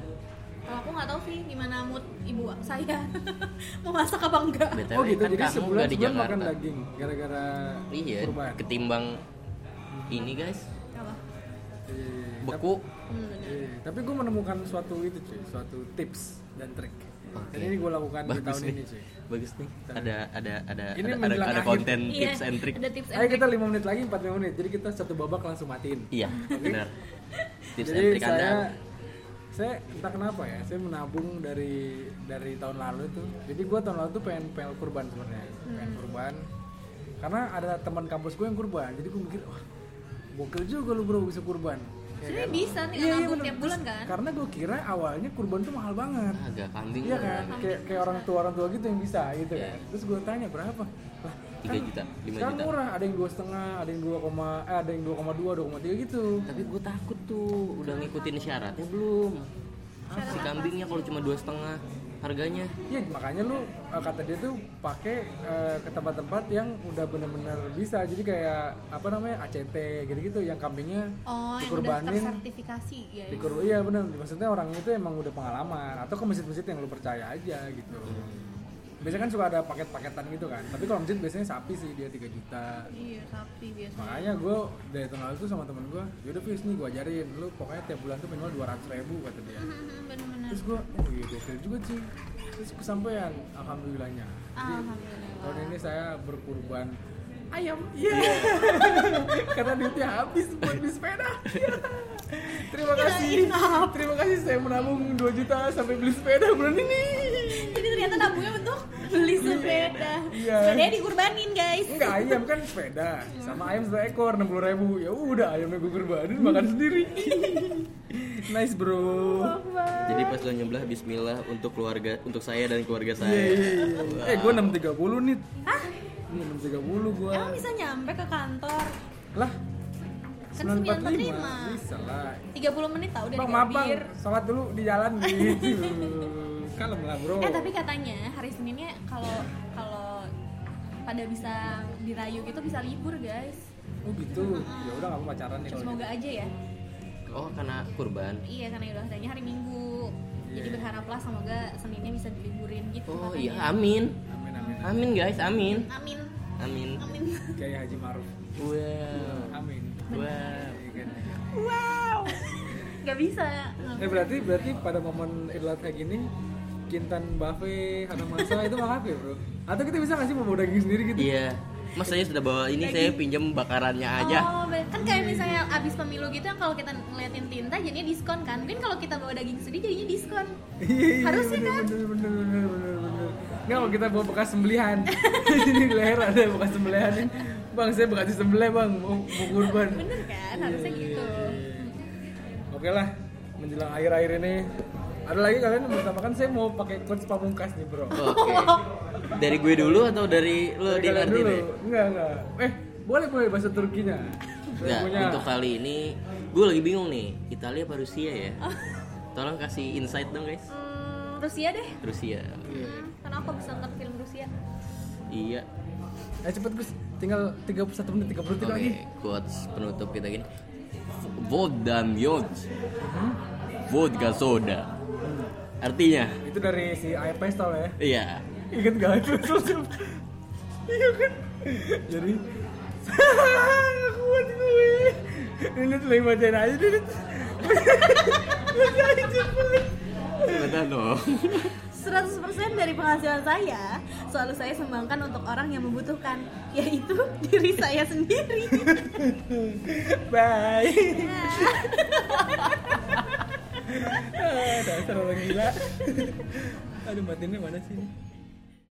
S3: Kalau aku nggak tahu sih gimana mood ibu saya *laughs* mau masak apa enggak.
S2: BTW
S1: Oh gitu,
S2: kan
S1: jadi
S2: kamu
S1: sebulan
S2: nggak di
S1: sebulan makan
S2: Jakarta.
S1: daging gara-gara
S2: Iya,
S1: kurban.
S2: ketimbang ini guys,
S3: Apa?
S1: Iya, iya.
S2: beku.
S3: Hmm, bener.
S1: Iya, tapi gue menemukan suatu itu cuy, suatu tips dan trik.
S2: Oke.
S1: Dan ini gue lakukan di
S2: Bagus
S1: tahun
S2: nih.
S1: ini cuy.
S2: Bagus nih. Ada ada ada
S1: Ini
S2: ada, ada,
S1: menjelang
S2: ada
S1: akhir.
S2: konten
S3: Iya,
S2: tips and trick.
S3: Ada tips and
S1: Ayo
S3: trick.
S1: kita 5 menit lagi, 4 menit. Jadi kita satu babak langsung matiin.
S2: Iya, benar. Tips
S1: Jadi
S2: and trick
S1: saya,
S2: Anda.
S1: saya entah kenapa ya, saya menabung dari dari tahun lalu tuh. Jadi gue tahun lalu tuh pengen pengen kurban sebenarnya,
S3: Hmm.
S1: pengen kurban. Karena ada teman kampus gue yang kurban, jadi gue mikir, wah, gokil juga lu bro bisa kurban. Ya
S3: Sebenarnya
S1: kan?
S3: bisa nih
S1: Iya, iya,
S3: nabung
S1: bener.
S3: tiap bulan
S1: Terus,
S3: kan?
S1: Karena gue kira awalnya kurban tuh mahal banget.
S2: Agak kambing.
S3: Oh,
S1: Iya kan,
S2: lah.
S1: kayak kayak orang tua orang tua gitu yang bisa gitu
S2: Iya.
S1: kan. Terus gue tanya berapa? Lah,
S2: Tiga juta, lima
S1: sekarang
S2: juta.
S1: murah, ada yang dua setengah, ada yang dua koma, eh, ada yang dua koma dua, dua koma tiga gitu.
S2: Tapi gue takut tuh, udah ngikutin syaratnya belum? Si kambingnya kalau cuma dua setengah harganya
S1: Iya makanya lu eh, kata dia tuh pakai eh, ke tempat-tempat yang udah bener-bener bisa. Jadi kayak apa namanya ACT gitu-gitu yang kambingnya
S3: Oh, yang udah
S1: dikurbanin.
S3: tersertifikasi ya.
S1: dikurban. Iya bener. Maksudnya orang itu emang udah pengalaman atau ke masjid-masjid yang lu percaya aja gitu. Biasanya kan suka ada paket-paketan gitu kan. Tapi kalau masjid biasanya sapi sih dia 3 juta.
S3: Iya, sapi *laughs* biasanya.
S1: Makanya gue dari tahun lalu tuh sama temen gue, yaudah Fis nih gue ajarin, lu pokoknya tiap bulan tuh minimal 200 ribu kata dia
S3: Hmm, Bener-bener.
S1: Terus gue, oh iya gokil juga sih Terus kesampaian, alhamdulillahnya
S3: Alhamdulillah.
S1: Tahun ini saya berkurban ayam. Iya. *laughs* Karena duitnya habis buat beli sepeda.
S3: *laughs*
S1: Iya. Terima kasih. Terima kasih saya menabung 2 juta sampai beli sepeda bulan ini.
S3: Jadi ternyata nabungnya untuk beli sepeda.
S1: Iya.
S3: Sepedanya dikurbanin, guys.
S1: Enggak ayam kan sepeda sama ayam satu ekor 60 ribu ya udah ayamnya gue kurbanin makan sendiri *laughs* nice bro
S2: Jadi pas lo nyembelih bismillah untuk keluarga untuk saya dan keluarga
S1: Iya,
S2: saya
S1: iya, iya. eh gue 630 nih
S3: Hah?
S1: Ini 630 gue
S3: Emang bisa nyampe ke kantor?
S1: lah
S3: Kan 945.
S1: 945 bisa lah
S3: 30 menit tau dari
S1: Bang, maaf bang,
S3: Gambir.
S1: sholat dulu di
S3: *laughs*
S1: jalan gitu. Kalem lah bro.
S3: Eh tapi katanya hari Seninnya kalau kalau pada bisa dirayu gitu bisa libur guys.
S1: Oh gitu. Ya udah nggak apa pacaran nih kalau. gitu.
S3: Semoga aja ya.
S2: Oh karena kurban
S3: Iya karena udah adanya hari Minggu. Jadi
S1: Iya.
S3: berharaplah semoga Seninnya bisa diliburin gitu
S2: Oh
S3: katanya.
S2: iya amin
S1: gitu. Amin amin.
S2: Amin guys amin
S3: Amin.
S2: Amin
S3: Amin. *laughs*
S1: Kayak Haji Maruf.
S2: Wow
S1: Amin.
S2: Wow
S1: Iya kan?
S3: Wow. Gak bisa.
S1: Eh berarti berarti pada momen Idul Adha gini Kintan Bafe, Hana Masa itu nggak apa ya bro? Atau kita bisa ngasih bawa daging sendiri gitu?
S2: Iya Mas saya sudah bawa ini saya pinjam bakarannya aja
S3: Oh, be- kan kayak misalnya abis pemilu gitu yang kalau kita ngeliatin tinta jadinya diskon kan. Mungkin kalau kita bawa daging sedih jadinya diskon.
S1: Iya, iya,
S3: Harus sih,
S1: bener,
S3: kan?
S1: bener, bener, bener, bener, bener. Nggak, kalau kita bawa bekas
S3: *laughs*
S1: sembelihan *laughs* Jadi di leher ada bekas sembelihan Bang, saya bekas disembelih bang, mau, mau kurban Iya,
S3: Bener kan? Harusnya gitu.
S1: Oke lah, menjelang akhir-akhir ini ada lagi kalian yang bertambahkan saya mau pakai quotes pamungkas nih bro.
S2: Oke Dari gue dulu atau Oh. dari lo
S1: Dari kalian
S2: diingetin ya?
S1: Enggak, enggak. Eh, boleh boleh bahasa Turkinya.
S2: Nggak,
S1: Saya punya.
S2: untuk kan. kali ini gue lagi bingung nih Italia apa Rusia ya? Tolong kasih insight dong guys
S3: Hmm, Rusia deh.
S2: Rusia
S1: Iya.
S3: Hmm, karena aku bisa nonton film Rusia.
S2: Iya
S1: Eh cepet Gus, tinggal 31 menit 30 detik
S2: Oke,
S1: lagi.
S2: quotes penutup kita gini. Vodka mjod. Vodka soda. Artinya,
S1: Itu dari si Air Pestol ya.
S2: iya.
S1: Ingat gak Air Pestol? Jam? Iya kan? Jadi *laughs* kuat gue. Ini tuh lagi bacain aja deh. Bacain cepet.
S2: Bentar dong.
S3: 100% dari penghasilan saya selalu saya sumbangkan untuk orang yang membutuhkan, yaitu diri saya sendiri.
S1: Bye. *laughs*
S3: Nah,
S1: Ah, dasar orang gila aduh batinnya mana sih ini?